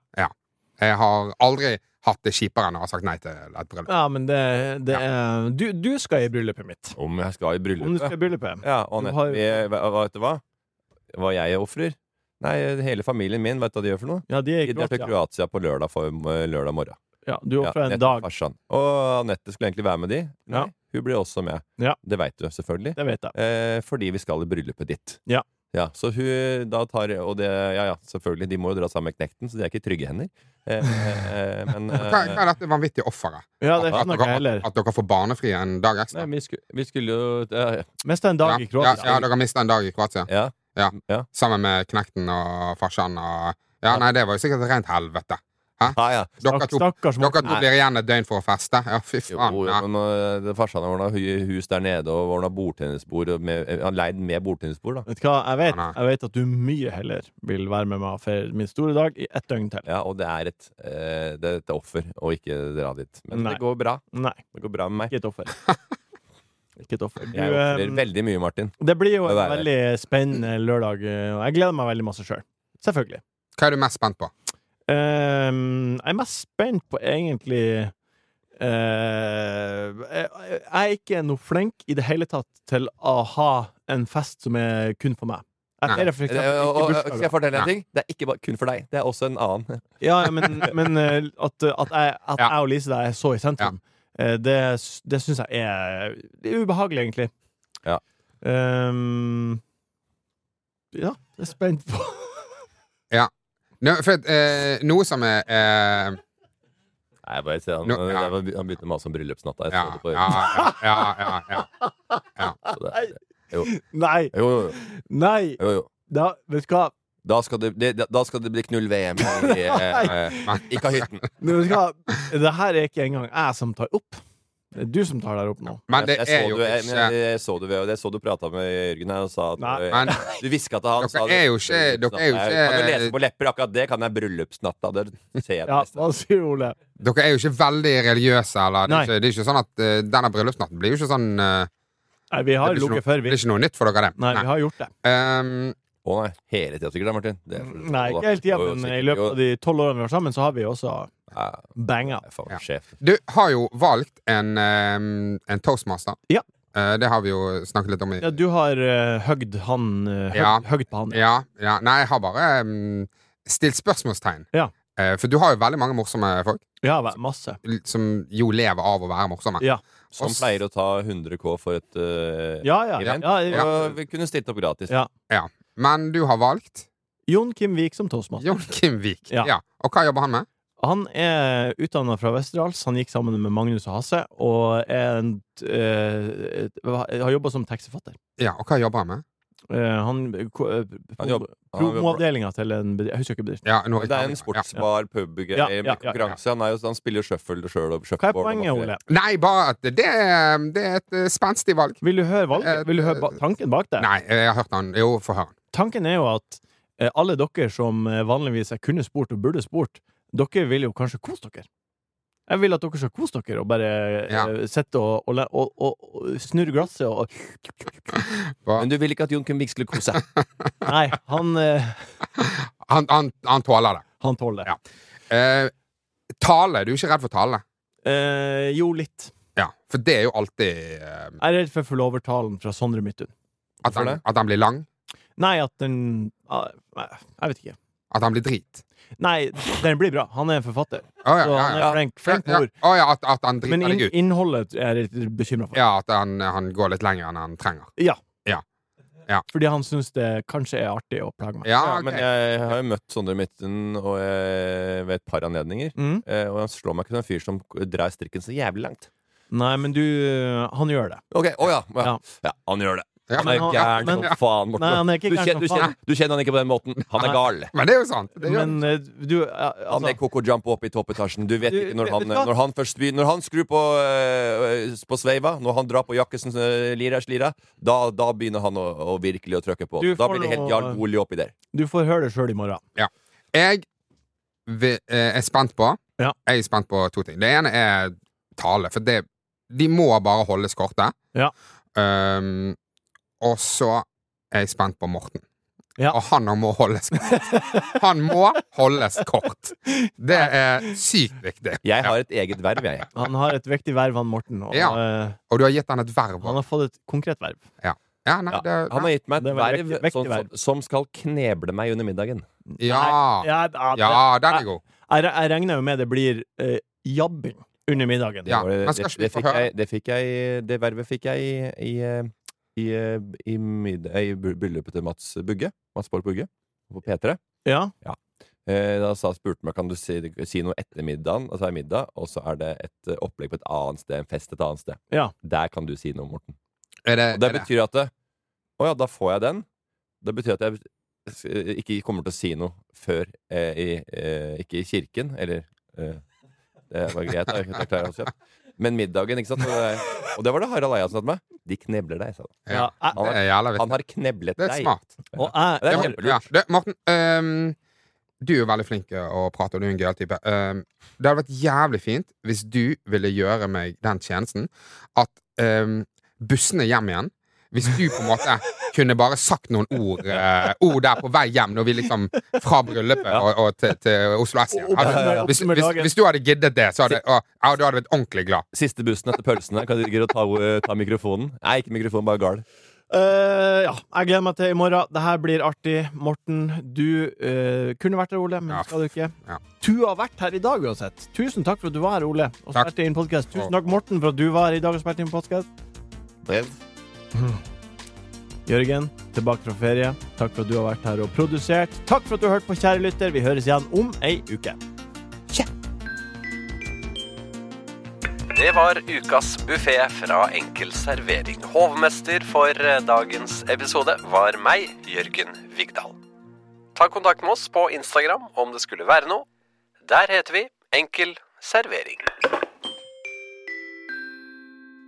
S3: Jeg har aldri hatt det kjipere enn å ha sagt nei til et bryllup.
S1: Ja, men det, det er du, du skal i bryllupet mitt.
S2: Om jeg skal i
S1: Om du skal
S2: bryllupet.
S1: i bryllupet.
S2: Ja, og Anette,
S1: har-
S2: vi- hva- hva- vet du hva? Hva jeg ofrer? Nei, hele familien min, vet du hva de gjør for noe?
S1: Ja, de er
S2: De
S1: i
S2: drar til
S1: Kroatia.
S2: Kroatia på lørdag, for, lørdag morgen.
S1: Ja, du
S2: Ja,
S1: ofrer en
S2: nettopp,
S1: dag.
S2: farsan. Og Anette skulle egentlig være med de. Nei,
S1: Ja.
S2: Hun blir også med.
S1: Ja.
S2: Det veit du, selvfølgelig.
S1: Det vet jeg.
S2: Eh, fordi vi skal i bryllupet ditt.
S1: Ja.
S2: så hun da tar Og det, ja ja, selvfølgelig, de må jo dra sammen med knekten, så de er ikke i trygge hender. Eh, eh, men eh,
S3: Hva, hva er dette vanvittige offeret?
S1: Ja, det
S3: At,
S1: skjønner ikke jeg
S3: dere-
S1: heller.
S3: at, at dere får barnefri en dag ekstra?
S2: nei, vi, skulle, vi skulle jo ja,
S1: Mista en dag i
S3: ja,
S1: Kroatia.
S3: ja, dere mista en dag i Kroatia.
S2: ja,
S3: Ja.
S2: ja.
S3: Sammen med Knekten og farsan og Ja, nei, det var jo sikkert et rent helvete.
S2: Ah, Ja, ja.
S3: Dere
S1: Stakk-
S3: to,
S1: Stakkars
S3: dere
S1: Morten.
S3: to blir igjen et døgn for å feste. Ja, fy
S2: Jo,
S3: faen.
S2: jo,
S3: Ah, Ja.
S2: men øh, det- farsan har ordna hus der nede og ordna bordtennisbord. og med- eh, Han leid med bordtennisbord, da.
S1: Vet du hva, jeg vet,
S3: Nei.
S1: jeg vet at du mye heller vil være med meg og feire min store dag i ett døgn til.
S2: Ja, og det er et, eh, det er et offer å ikke dra dit. Men
S1: Nei.
S2: det går bra.
S1: Nei,
S2: Det går bra med meg.
S1: ikke et offer. Ikke et offer. Du,
S2: Jeg
S1: eh,
S2: ofrer veldig mye, Martin.
S1: det blir jo
S2: Det
S1: en
S2: der.
S1: veldig spennende lørdag, eh, og jeg gleder meg veldig masse sjøl. Selvfølgelig.
S3: Hva er du mest spent på?
S1: Ehm, jeg er mest spent på egentlig eh, jeg, jeg er ikke noe flink i det hele tatt til å ha en fest som er kun for meg. Jeg
S3: Nei.
S1: feirer for
S2: Eh, og- og-
S1: eksempel ikke
S2: skal
S1: bursdager.
S2: jeg fortelle deg en ting? Det er ikke bare, kun for deg. Det er også en annen.
S1: Ja, ja, men, men eh, at, at, jeg, at
S3: Ja.
S1: jeg og Lise der er så i sentrum, eh, det, s- det syns jeg er Det er ubehagelig, egentlig.
S2: Ja.
S1: Ehm, ja, jeg er spent på
S3: Nå, for, eh, noe som er eh,
S2: Nei, bare se, han,
S3: Nå-
S2: øh,
S3: ja.
S2: det var- han begynte å mase om bryllupsnatta. Jeg
S3: ja,
S2: så det på
S3: ja, ja, ja, ja, ja.
S2: så det-
S1: Nei!
S2: Jo, jo,
S1: Nei!
S2: jo, jo.
S1: Da, vet du hva?
S2: Da skal det, det, da skal det bli knull-VM i eh, eh, Ikkahytten.
S1: Men vet du hva? Det her er ikke engang jeg som tar opp. Det er du som tar der opp nå.
S3: Men det
S2: Jeg- jeg
S3: er
S2: så
S3: jo
S2: du- jeg-
S3: ikke
S2: men Jeg så du, jeg så du prata med Jørgen her og sa at
S1: Nei.
S3: Men
S2: Du hviska til han
S3: Dere
S2: sa du-
S3: er jo ikke- dere er jo ikke-
S2: Kan du lese på lepper akkurat det? Kan jeg bryllupsnatta? Det ser jeg
S1: Ja,
S2: på neste.
S1: hva sier du, Ole?
S3: dere er jo ikke veldig religiøse, eller? Det
S1: Nei.
S3: er ikke, det er ikke sånn at eh, denne bryllupsnatten blir jo ikke sånn eh,
S1: Nei, vi
S3: det,
S1: har
S3: blir ikke noe,
S1: lukket før,
S3: det
S1: vi.
S3: er ikke noe nytt for dere, det.
S1: Nei, vi har gjort det.
S3: Ehm,
S2: Å nei, hele tida sikkert, da, Martin. Det er for-
S1: Nei, ikke hele tida,
S2: Jo, jo,
S1: men i
S2: sikkert.
S1: løpet
S2: Jo,
S1: av de tolv årene vi var sammen, så har vi også
S2: ja,
S1: banga.
S2: jeg er faen
S3: Ja.
S2: sjef.
S3: Du har jo valgt en, ehm, en toastmaster.
S1: Ja.
S3: Eh, det har vi jo snakket litt om. i
S1: Ja, du har uh, høgd han eh, høgd,
S3: Ja.
S1: høgd på han.
S3: ja, ja. Nei, jeg har bare ehm, stilt spørsmålstegn.
S1: Ja.
S3: Eh, for du har jo veldig mange morsomme folk
S1: Ja, vel, masse.
S3: l- som jo lever av å være morsomme.
S1: Ja.
S2: Som
S3: Oss-
S2: pleier å ta 100 K for et eh,
S1: Ja, ja. ja,
S2: event.
S1: ja,
S2: Og vi kunne stilt opp gratis.
S1: Ja.
S3: Men du har valgt
S1: Jon Kim Vik som toastmaster.
S3: Jon Kim Vik.
S1: Ja.
S3: Og hva jobber han med?
S1: Han er utdanna fra Westerdals. Han gikk sammen med Magnus og Hasse, og er en, eh, et- har jobba som taxifatter.
S3: Ja, og hva jobber han med?
S1: Eh, han ko- eh,
S2: Han jobb- han jobber-
S1: Promoavdelinga til en bedrift. Jeg husker ikke bedriften.
S3: Ja, nå-
S2: Det er en
S3: Ja.
S2: sportsbar pub
S1: Ja,
S2: ja,
S1: ja, ja, ja.
S2: konkurranse. Han, er jo, han spiller shuffle sjøl.
S1: Hva er poenget, Ole?
S3: Nei, bare at det er, det er et eh, spenstig valg.
S1: Vil du høre valget?
S3: Eh,
S1: Vil du høre ba tanken bak det?
S3: Nei, eh, jeg har hørt han. Jo, få høre.
S1: Tanken er jo at eh, alle dere som eh, vanligvis jeg kunne spurt og burde spurt, dere vil jo kanskje kose dere. Jeg vil at dere skal kose dere og bare eh,
S3: Ja.
S1: sitte og, og, le- og, og, og snurre glasset og
S2: Men du vil ikke at Jon Kemvik skulle kose seg?
S1: Nei, han, eh,
S3: Han, han, han tåler det.
S1: han tåler det.
S3: Ja. Eh, tale. Du er ikke redd for tale?
S1: Eh, jo, litt.
S3: Ja, for det er jo alltid eh,
S1: Jeg er redd for forlovertalen fra Sondre Midthun.
S3: at,
S2: Hvorfor
S3: han,
S2: det?
S3: at han blir lang.
S1: Nei, at den ah, nei, Jeg vet ikke.
S3: At han blir drit.
S1: Nei, den blir bra. Han er en forfatter.
S3: Å ja,
S1: Så
S3: ja,
S1: han
S3: ja.
S1: er flink, flink
S3: Ja,
S1: med ord.
S3: ja. Å ja, at, at han
S1: Men
S3: driter
S1: inn,
S3: deg ut.
S1: innholdet er jeg litt bekymra for.
S3: Ja, at han, han går litt lenger enn han trenger.
S1: Ja.
S3: Ja. Ja.
S1: Fordi han syns det kanskje er artig å plage meg.
S3: Ja,
S2: Ja,
S3: Ah, ok.
S2: men
S1: eh,
S2: jeg har jo møtt Sondre Midten og jeg, ved et par anledninger.
S1: Mm.
S2: Eh, Og han slår meg ikke som en fyr som drar strikken så jævlig langt.
S1: Nei, men du øh, Han gjør det.
S2: Ok, å ja, ja.
S1: Ja.
S2: ja, han gjør det.
S3: Ja,
S2: Han er
S1: men-
S2: gæren
S1: men-
S2: som faen,
S1: Nei, han
S2: Morten.
S1: er ikke
S2: Du
S1: gæren som
S2: kjenner, du,
S1: faen.
S2: kjenner, du kjenner han ikke på den måten. Han
S1: Nei.
S2: er gal.
S3: Men det er jo sant. Det gjør
S1: Men
S3: han.
S1: eh, du eh, altså,
S2: Han er Coco Jump opp i toppetagen. Du vet
S1: Du,
S2: ikke når
S1: vet
S2: han,
S1: du hva?
S2: når han først begynner Når han skrur på, eh, på sveiva, når han drar på Jakkesens eh, lira slira, da, da begynner han å, å virkelig å trykke på.
S1: Du
S2: Da
S1: får
S2: blir det helt
S1: nå-
S2: Jarl Goli oppi der.
S1: Du får høre det sjøl i morgen.
S3: Jeg vi- eh, er spent på
S1: Ja.
S3: Jeg er spent på to ting. Det ene er tale, for det, de må bare holdes korte.
S1: Ja.
S3: Um, og så er jeg spent på Morten.
S1: Ja.
S3: Og han må holdes kort. Han må holdes kort. Det er sykt viktig.
S2: Jeg har et eget verv, jeg.
S1: Han har et viktig verv, han Morten. Og,
S3: Ja.
S1: eh,
S3: Og du har gitt han et verv.
S1: han har fått et konkret verv.
S3: Ja, nei,
S2: Ja.
S3: det,
S2: Han har gitt meg
S1: Det
S2: et
S1: var et
S2: verv sånn
S1: vekt- vektig
S2: som,
S1: verv.
S2: som skal kneble meg under middagen.
S3: ja.
S1: Ja, ja, det-
S3: Ja, den er god.
S1: Jeg, re- jeg regner jo med det blir eh, jabbing under middagen.
S3: Ja,
S2: Det,
S3: men
S2: var-
S3: skal
S2: det,
S3: ikke vi
S2: det,
S3: få
S2: fikk
S3: høre?
S2: jeg, det fikk jeg Det vervet fikk jeg i, i, eh, i, eh, i, mid- eh, i bry- bryllupet til Mats Bugge. Mats Borg Bugge på P3.
S1: Ja.
S2: Eh, Da sa, spurte meg kan du si, si noe etter middagen, og så er det middag, og så er det et eh, opplegg på et annet sted, en fest et annet sted.
S1: Ja.
S2: Der kan du si noe, Morten.
S3: Er det,
S2: Og det
S3: er det?
S2: betyr at det- Å ja, da får jeg den. Det betyr at jeg s- ikke kommer til å si noe før eh, i, eh, Ikke i kirken, eller eh, Det var greit, da. jeg klarer også, ja. Men middagen, ikke sant. Og det, og det var det Harald Eiasen sa til meg. De knebler deg, sa han.
S3: Ja.
S1: jeg-
S2: Han har,
S3: Det er jævla
S2: han
S3: viktig.
S2: har kneblet
S3: Det er
S2: deg.
S3: smart.
S1: og jeg,
S2: Det er
S3: Ja,
S2: kjempelurt.
S3: ja. Du, Morten, ehm, du er jo veldig flink til å prate, og du er en gøyal type. Ehm, det hadde vært jævlig fint hvis du ville gjøre meg den tjenesten at ehm, bussene hjem igjen hvis du på en måte kunne bare sagt noen ord, eh, ord der på vei hjem, når vi liksom fra bryllupet og, og til, til Oslo S igjen.
S1: Og
S3: Hadde-
S1: oppsummer-
S3: Hvis,
S1: oppsummer
S3: hvis,
S1: dagen.
S3: hvis du hadde giddet det, så hadde, og, ja, du hadde vært ordentlig glad.
S2: Siste bussen etter pølsene. Kan du ikke ta, eh, ta mikrofonen? Nei, ikke mikrofonen, bare gal.
S1: Eh, ja, jeg gleder meg til i morgen. Det her blir artig. Morten, du eh, kunne vært her, Ole, men
S3: Ja.
S1: skal du ikke.
S3: Ja.
S1: Du har vært her i dag uansett. Tusen takk for at du var her, Ole. Og
S3: Takk.
S1: spilte inn podcast. Tusen takk, Morten, for at du var her i dag og spilte inn podkast. Jørgen, tilbake fra ferie. Takk for at du har vært her og produsert. Takk for at du har hørt på, kjære lytter. Vi høres igjen om ei uke.
S7: Det var ukas buffé fra Enkel servering. Hovmester for eh, dagens episode var meg, Jørgen Vigdal. Ta kontakt med oss på Instagram om det skulle være noe. Der heter vi Enkel servering.